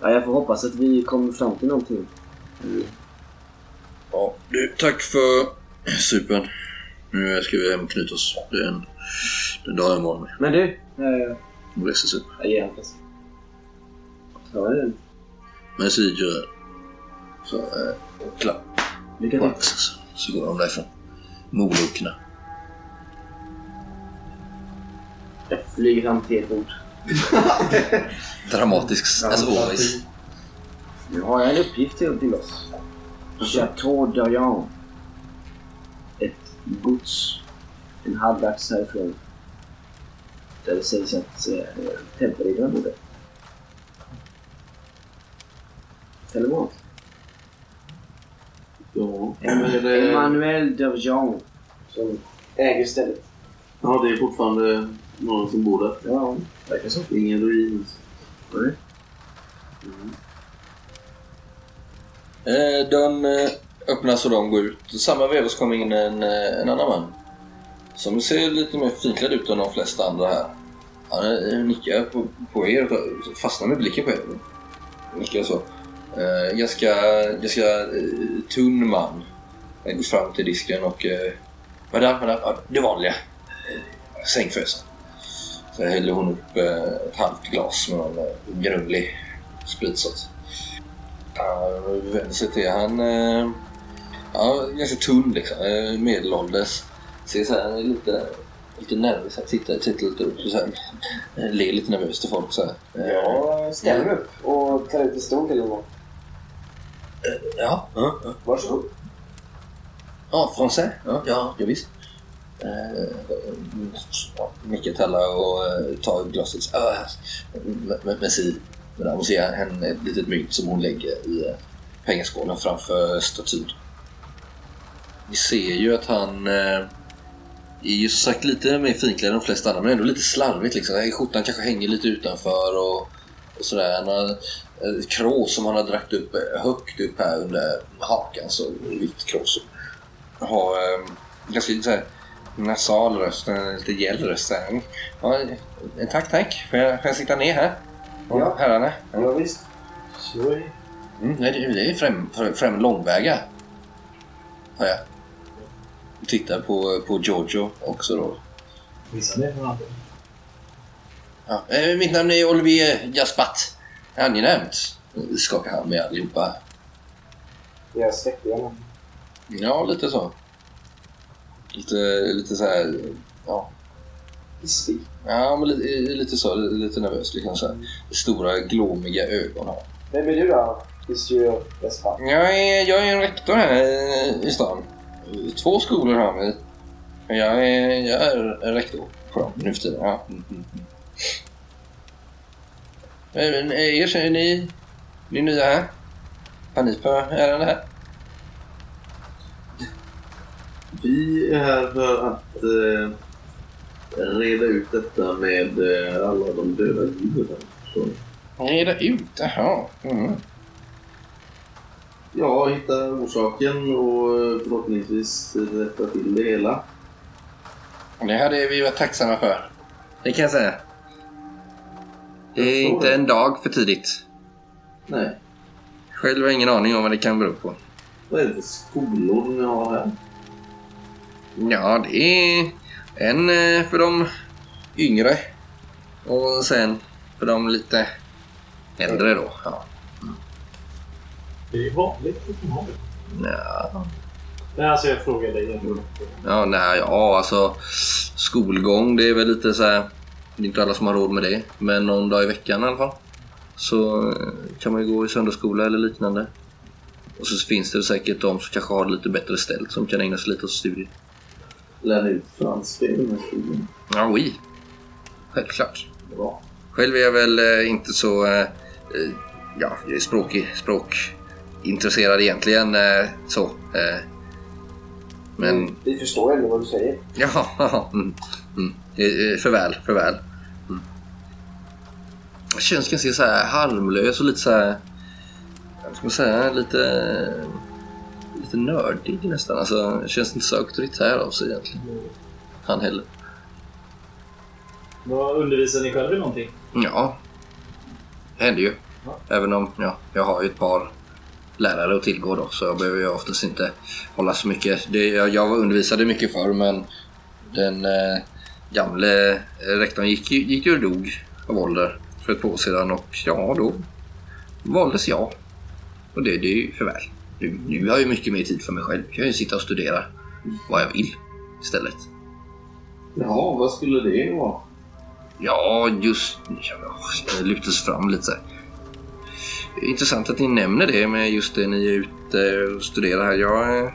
Speaker 8: Ja, jag får hoppas att vi kommer fram till någonting.
Speaker 3: Ja, du, tack för supen. Nu ska vi hem och knyta oss. Det är en, det är en dag imorgon med.
Speaker 8: Men du! Eh,
Speaker 3: Om resesup.
Speaker 8: jag ger honom fast. Ja, det är det.
Speaker 3: Men så gör Så, eh, och klapp
Speaker 8: Lycka
Speaker 3: på
Speaker 8: till.
Speaker 3: axeln. så- Så går de därifrån. Molokerna.
Speaker 8: Jag flyger fram till ert bord.
Speaker 3: Dramatisk Alltså, as always.
Speaker 8: Nu har jag en uppgift till, till oss. Chateau d'Orient. Ett gods en halv dags härifrån. Där det sägs att eh, tempelriddaren bodde. Telegram.
Speaker 5: Ja, men det,
Speaker 8: Emmanuel d'Orient. Som,
Speaker 6: Äger stället.
Speaker 5: ja, det är fortfarande någon som bor där.
Speaker 8: ja, verkar så.
Speaker 5: Ingen ruin.
Speaker 3: Eh, Dörren eh, öppnas och de går ut. I samma veva så kommer in en, eh, en annan man. Som ser lite mer finklädd ut än de flesta andra här. Han eh, nickar på, på er och fastnar med blicken på er. Nickar så. Eh, ganska ganska eh, tunn man. Han går fram till disken och... Eh, madame, madame, ja, det vanliga. Eh, Sängfösen. Så häller hon upp eh, ett halvt glas med någon eh, grumlig spritsats. Han vänder sig till. Han eh, ja, ganska tunn liksom. eh, Medelålders. Ser så här lite, lite nervös. Han tittar, tittar lite upp och så här, eh, ler lite nervöst till folk så här. Eh,
Speaker 6: Jag ställer mig upp och tar ut en stol till honom.
Speaker 3: Eh, Ja, ja, ja.
Speaker 6: Varsågod.
Speaker 3: ja français. Ja, ja, ja visst. Eh, ja, Micke talar och eh, tar glaset. så här, "Ah, men- men- Merci. Men hon ser en, ett litet mynt som hon lägger i, eh,
Speaker 9: pengaskålen framför statyn. Ni ser ju att han eh, är ju som sagt lite mer finklädd än de flesta andra men ändå lite slarvigt liksom. Skjortan kanske hänger lite utanför och, och sådär. Han har eh, ett krås som han har dragit upp eh, högt upp här under hakan, så vitt krås. Har eh, ganska så här, nasal röst, eh, lite gäll röst. så här. Ja, eh, tack, tack. Får jag, får jag sitta ner här?
Speaker 10: Ja.
Speaker 9: Herrarna?
Speaker 10: Ja, visst.
Speaker 11: Sorry.
Speaker 9: Mm, nej, det det är främ, fr- främ långväga. Har jag. Tittar på, på Giorgio också då.
Speaker 7: Vissa ner från handen.
Speaker 9: Ja. eh, Mitt namn är Olivier Jaspat. Angenämt. Skakar han med allihopa.
Speaker 10: Jag släckte honom.
Speaker 9: Ja, lite så. Lite, lite så här... Ja. Ja, men lite, lite så. Lite nervös liksom. Så här. Stora glåmiga ögon har han.
Speaker 10: Vem är du då? Monsieur Gaspar.
Speaker 9: Jag är, jag är en rektor här i, i stan. Två skolor har vi. Jag är, jag är en rektor på dem nu för tiden. Ja. Mm, mm, mm. Men, eh, Er säger ni, ni är nya här? Har ni på ärende här?
Speaker 5: Vi är här för att eh, reda ut detta med eh, alla de döda djuren. Så,
Speaker 9: Reda ut, jaha. Mm.
Speaker 5: ja, hitta orsaken och eh, förhoppningsvis rätta till det hela.
Speaker 9: Det hade vi varit tacksamma för.
Speaker 3: Det kan jag säga. Det är inte en dag för tidigt.
Speaker 5: Nej,
Speaker 3: Själv har jag ingen aning om vad det kan bero på.
Speaker 5: vad är det för skolor ni har här?
Speaker 3: Ja, det är en eh, för de yngre och sen för de lite äldre då. Ja.
Speaker 7: Det är ju vanligt att de har det.
Speaker 3: Ja,
Speaker 7: Nej, alltså jag frågar dig igen.
Speaker 3: ja, nej, ja alltså skolgång det är väl lite så här. Det är inte alla som har råd med det, men någon dag i veckan i alla fall. Så eh, kan man ju gå i söndagsskola eller liknande. Och så finns det säkert de som kanske har det lite bättre ställt som kan ägna sig lite åt studier.
Speaker 5: Lär ni ut franska i den här skolan?
Speaker 3: Ja, oui. Självklart.
Speaker 5: Bra.
Speaker 3: Själv är jag väl eh, inte så eh, eh, ja, jag är språkig, språkintresserad egentligen. Eh, så. Eh, men
Speaker 10: Vi förstår ändå vad du säger.
Speaker 3: ja, mm, mm, eh, eh, förväl, förväl. Mm. Jag känns ganska så här harmlös och lite så här, vad ska man säga, lite, lite nördig nästan. Alltså, jag känns inte så auktoritär av sig egentligen. Han heller.
Speaker 7: Vad undervisar ni själva i någonting?
Speaker 3: Ja, det händer ju.
Speaker 7: Ja.
Speaker 3: Även om ja, jag har ju ett par lärare att tillgå då, så jag behöver ju oftast inte hålla så mycket. Det, jag, jag undervisade mycket förr, men den eh, gamle eh, rektorn gick, ju- gick ju och dog av ålder för ett par år sedan och ja, då valdes jag. Och det, det är ju för väl. Nu, nu har jag ju mycket mer tid för mig själv. Jag kan ju sitta och studera vad jag vill istället.
Speaker 5: Ja, vad skulle det vara?
Speaker 3: Ja, just ja, jag lutas fram lite. så här. Det är Intressant att ni nämner det med just det ni är ute och studerar här. Jag är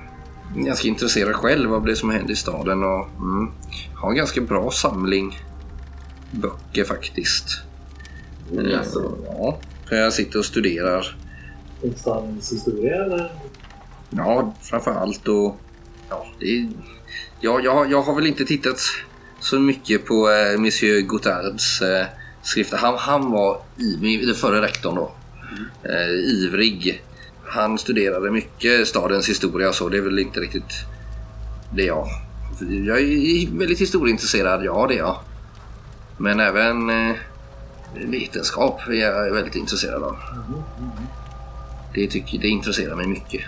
Speaker 3: ganska intresserad själv av det som händer i staden och mm, har en ganska bra samling böcker faktiskt. Eh, Ja, för jag sitter och studerar
Speaker 7: Stadens historia eller?
Speaker 3: Ja, framför allt och... Ja, det är, ja, jag, jag har väl inte tittat så mycket på eh, Monsieur Gotards eh, skrifter. Han, han var, i, den förre rektorn då, eh, ivrig. Han studerade mycket stadens historia och så. Det är väl inte riktigt det jag... Jag är väldigt historieintresserad, ja det är jag. Men även eh, vetenskap är jag väldigt intresserad av. Det, tycker, det intresserar mig mycket.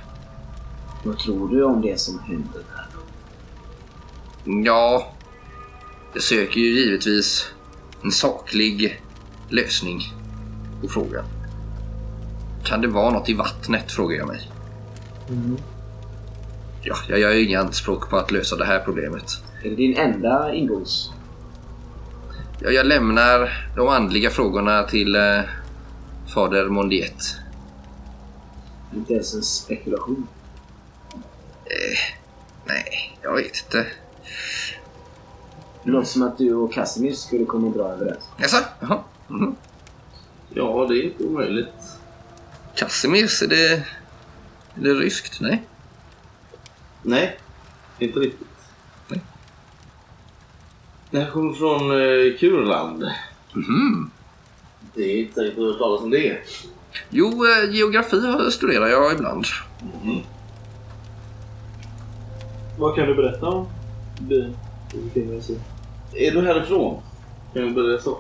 Speaker 8: Vad tror du om det som händer där?
Speaker 3: Ja, jag söker ju givetvis en saklig lösning på frågan. Kan det vara något i vattnet, frågar jag mig. Ja, jag gör ju inga anspråk på att lösa det här problemet.
Speaker 8: Är det din enda ingångs?
Speaker 3: Jag, jag lämnar de andliga frågorna till eh, fader Mondiet.
Speaker 8: Inte ens en spekulation?
Speaker 3: Nej, jag vet inte.
Speaker 8: Det låter som att du och Casimir skulle komma bra överens.
Speaker 3: Jaså? Jaha.
Speaker 5: Ja, det är inte omöjligt.
Speaker 3: Casimirs, är det... Är det ryskt? Nej.
Speaker 5: Nej, inte riktigt. Nej. Det här kommer från eh, Kurland.
Speaker 3: Mhm.
Speaker 5: Det är inte säkert att höra talas om det.
Speaker 3: Jo, eh, geografi har- studerar jag ibland.
Speaker 7: Vad kan du berätta om byn vi befinner oss i?
Speaker 5: Är du härifrån? Kan vi börja så?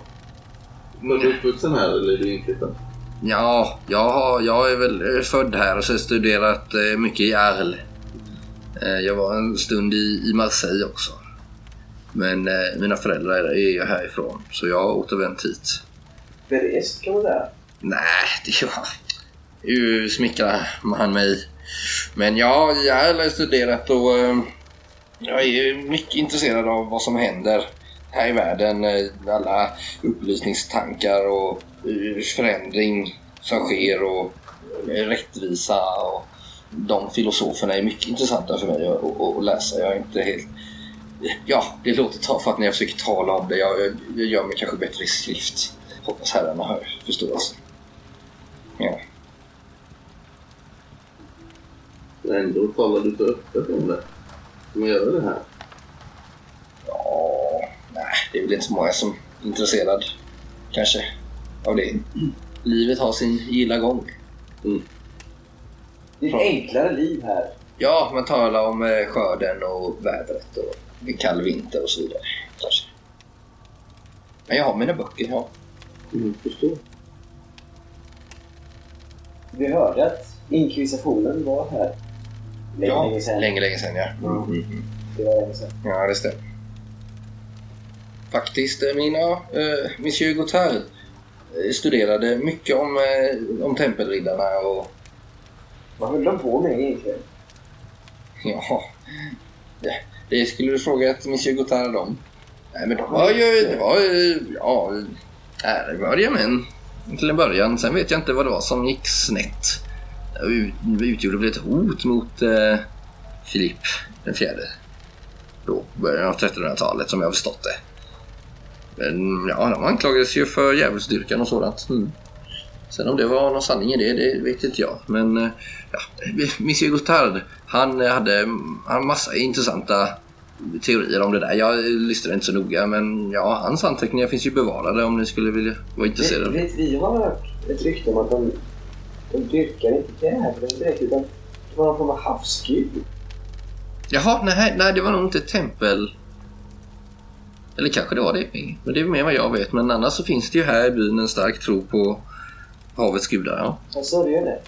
Speaker 5: Men du är uppvuxen här eller är du inflyttad?
Speaker 3: Ja, jag, har, jag är väl eh, född här och så har jag studerat eh, mycket i Arles. Eh, jag var en stund i, i Marseille också. Men eh, mina föräldrar är ju härifrån, så jag har återvänt hit.
Speaker 6: Berest kan man säga.
Speaker 3: Nej, det var... Nu smickrar man mig. Men ja, jag har studerat och eh, jag är ju mycket intresserad av vad som händer här i världen. eh, Alla upplysningstankar och eh, förändring som sker och eh, rättvisa. Och de filosoferna är mycket intressanta för mig att- att att läsa. Jag är inte helt... Ja, det låter tafatt när jag försöker tala om det. Jag, jag, jag gör mig kanske bättre i skrift. Hoppas herrarna har förståelse.
Speaker 5: Men ändå talar du så öppet om det. Ska man göra det här?
Speaker 3: Ja, nej, det är väl inte så många som är intresserad kanske av det. Livet har sin gilla gång.
Speaker 6: Det är ett enklare liv här.
Speaker 3: Ja, man talar om eh, skörden och vädret och en kall vinter och så vidare. Kanske. Men jag har mina böcker, ja.
Speaker 5: Mm, förstår.
Speaker 6: Vi hörde att inkvisitionen var här. Länge,
Speaker 3: ja,
Speaker 6: länge sedan.
Speaker 3: Länge, länge sedan, ja.
Speaker 6: Det var länge sedan.
Speaker 3: Ja, det stämmer. Faktiskt, eh, mina, eh, Monsieur Gotthard eh, studerade mycket om, eh, om tempelriddarna och
Speaker 6: Vad höll de på med egentligen?
Speaker 3: Ja, det, det skulle du fråga ett Monsieur Gotthard om. Nej, men de var ju... Det var ju... Ja, ärevördiga män till en början. Sen vet jag inte vad det var som gick snett. Det ut- utgjorde väl ett hot mot eh, Filip den fjärde. Då, början av 1300-talet, som jag har förstått det. Men ja, de anklagades ju för djävulsdyrkan och sådant. Mm. Sen om det var någon sanning i det, det vet inte jag. Men eh, ja, Monsieur Gotthard, han eh, hade en massa intressanta teorier om det där. Jag lyssnade inte så noga, men ja, hans anteckningar finns ju bevarade om ni skulle vilja vara
Speaker 6: Vet,
Speaker 3: intresserade.
Speaker 6: vet, vi har hört ett rykte om att de, de dyrkar inte djävulen direkt utan det var någon form av havsgud.
Speaker 3: Jaha, nej, nej, det var nog inte ett tempel. Eller kanske det var det. Men det är mer vad jag vet. Men annars så finns det ju här i byn en stark tro på havets gudar. Ja.
Speaker 6: Jag sörjer det.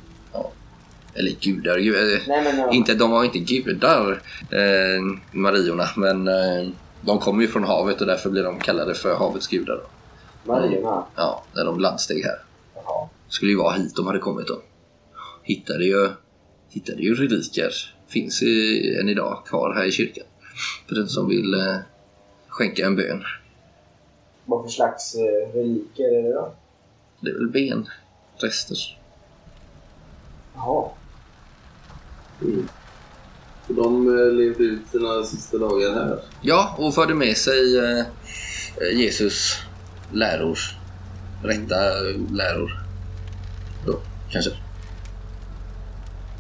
Speaker 3: Eller gudar, gudar.
Speaker 6: Nej men eh, ja.
Speaker 3: Inte, de var inte gudar, eh, Mariorna, men eh, de kommer ju från havet och därför blir de kallade för havets gudar. Då.
Speaker 6: Mariorna.
Speaker 3: Ja, när de landsteg här.
Speaker 6: Jaha.
Speaker 3: Skulle ju vara hit de hade kommit då. Hittade ju, hittade ju reliker. Finns i, än idag kvar här i kyrkan. För den som vill eh, skänka en bön.
Speaker 6: Vad för slags eh, reliker är det då?
Speaker 3: Det är väl ben, rester.
Speaker 6: Jaha.
Speaker 5: Så de eh, levde ut sina sista dagar här.
Speaker 3: Ja, och förde med sig eh, Jesus läror. Rätta läror. Då, kanske.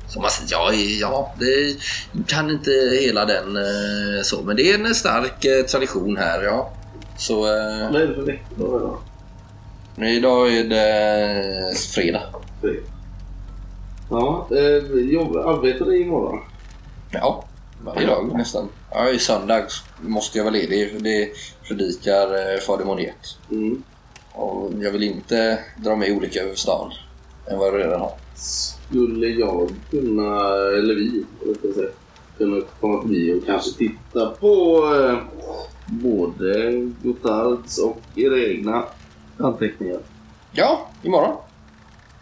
Speaker 3: Som man säger, ja, ja, det kan inte hela den eh, så, men det är en stark eh, tradition här, ja. Så eh,
Speaker 5: Vad är det för veckodag idag?
Speaker 3: idag är det fredag.
Speaker 5: Ja, eh, jobb, arbetar du imorgon?
Speaker 3: Ja, varje dag nästan. Ja, i söndag måste jag vara ledig. Det predikar eh, Fader Moniet.
Speaker 5: Mm.
Speaker 3: Och jag vill inte dra mig olika över stan än vad jag redan har.
Speaker 5: Skulle jag kunna, eller vi, rättare sagt, kunna komma förbi och kanske titta på eh, både Gotards och era egna anteckningar?
Speaker 3: Ja, imorgon.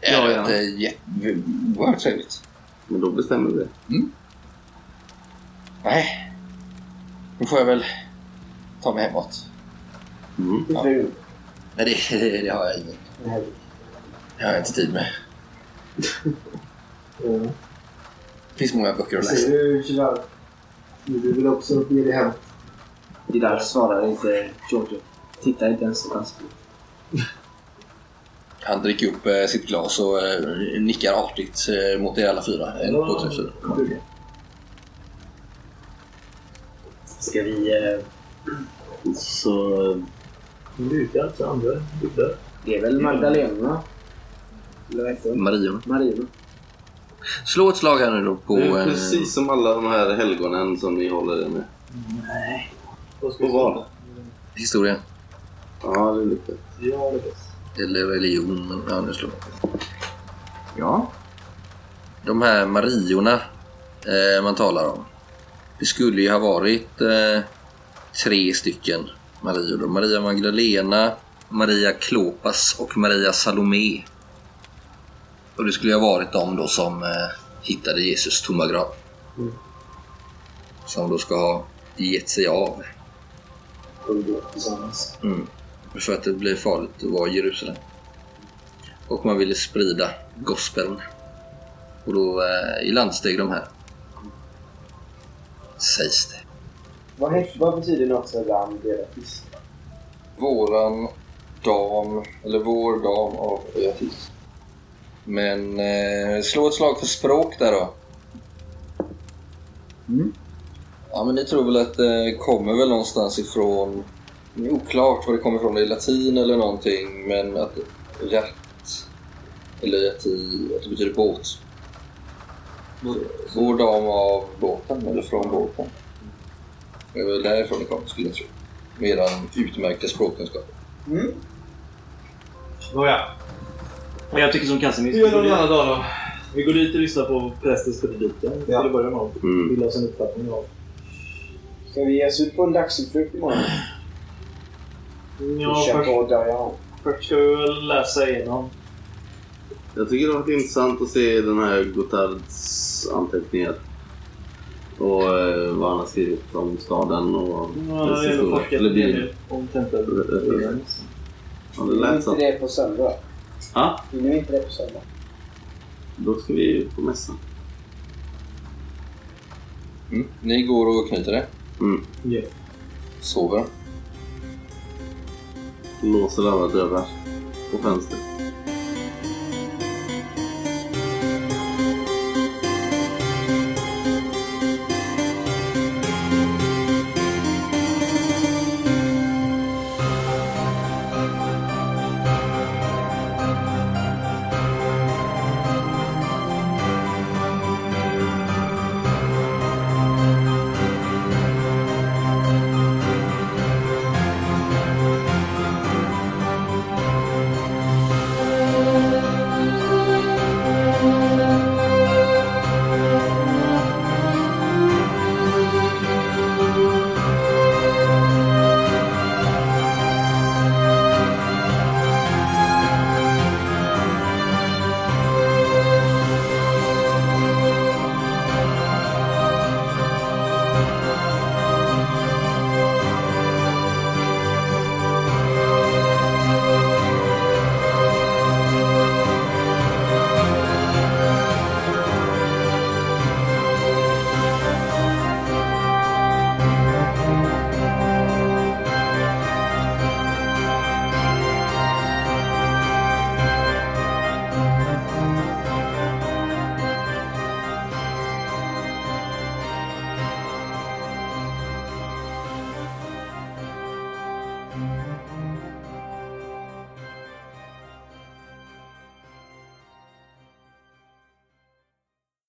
Speaker 5: Ja,
Speaker 3: Ja,
Speaker 5: ja.
Speaker 3: ja. Oerhört trevligt.
Speaker 5: Men då bestämmer vi det.
Speaker 3: Nej, nu får jag väl ta mig hemåt.
Speaker 5: Mm.
Speaker 6: Din fru.
Speaker 3: Nej, det, det, det har jag ingen.
Speaker 6: Nej.
Speaker 3: Det har jag inte tid med.
Speaker 4: Mm.
Speaker 3: Det finns många böcker att
Speaker 4: Ser
Speaker 3: läsa.
Speaker 4: du tyvärr. Du vill också ge dig hem.
Speaker 8: Det där svarar inte Giorgio. Tittar inte ens på hans bok.
Speaker 3: Han dricker upp eh, sitt glas och eh, nickar artigt eh, mot er alla fyra. En, två, tre, fyra.
Speaker 8: Ska vi... Eh,
Speaker 5: Så eh,
Speaker 7: Lukar till andra dukar.
Speaker 8: det är väl Magdalena? Eller vad heter hon?
Speaker 3: Maria.
Speaker 8: Maria.
Speaker 3: Slå ett slag här nu då på...
Speaker 5: det är
Speaker 3: eh,
Speaker 5: precis som alla de här helgonen som ni håller er med.
Speaker 7: Vad
Speaker 5: På vad?
Speaker 3: Historia.
Speaker 5: Ja, det är lyckat.
Speaker 7: Ja, det är bäst.
Speaker 3: Eller religion. Ja, nu slår jag.
Speaker 8: Ja.
Speaker 3: De här Mariorna eh, man talar om. Det skulle ju ha varit eh, tre stycken Marior. då. Maria Magdalena, Maria Klopas och Maria Salome. Och det skulle ju ha varit de då som eh, hittade Jesus tomma grav. Som då ska ha gett sig av.
Speaker 6: tillsammans.
Speaker 3: Mm. För att det blev farligt att vara i Jerusalem. Och man ville sprida gospeln. Och då eh, i landsteg de här. Sägs det.
Speaker 6: Vad, het- vad betyder något sådant beatism?
Speaker 2: Våran dam, eller vår dam av Beatrice.
Speaker 3: Men eh, slå ett slag för språk där då.
Speaker 8: Mm.
Speaker 3: Ja men ni tror väl att det kommer väl någonstans ifrån... Det är oklart var det kommer ifrån. Det är latin eller någonting. Men att rätt... Eller att det, att det betyder båt. Så, Vår dam av båten, eller från båten. Det är väl därifrån det kommer skulle jag tro. Med eran utmärkta språkkunskap.
Speaker 7: Nåja. Men jag tycker som Casimir...
Speaker 4: Vi gör det någon annan
Speaker 7: dag då. Vi går dit och lyssnar på prästens predikan
Speaker 6: Ja.
Speaker 7: till att börja med.
Speaker 5: Mm.
Speaker 7: Vill ha sin uppfattning av.
Speaker 6: Ska vi ge oss ut på en dagsutflykt imorgon?
Speaker 7: Ja,
Speaker 6: Ja, Kör
Speaker 7: först,
Speaker 6: på Dorian.
Speaker 7: först ska vi väl läsa igenom.
Speaker 5: Jag tycker det har varit intressant att se den här Gotards anteckningar. Och eh, vad han har skrivit om staden och
Speaker 7: Ja,
Speaker 5: dess
Speaker 7: det gäller forskat
Speaker 5: historia. Eller
Speaker 7: en hel
Speaker 5: byn.
Speaker 7: del om
Speaker 5: Eller-
Speaker 7: tempelbyggnaden.
Speaker 5: Ja, det
Speaker 6: Vi är
Speaker 5: lät
Speaker 6: inte
Speaker 5: så.
Speaker 6: det på söndag.
Speaker 5: Ja,
Speaker 6: Vi är inte det på söndag.
Speaker 5: då ska vi på mässan.
Speaker 3: Mm. Ni går och knyter det.
Speaker 5: Mm.
Speaker 7: Ja.
Speaker 3: Sover.
Speaker 5: Låser alla dörrar och fönster.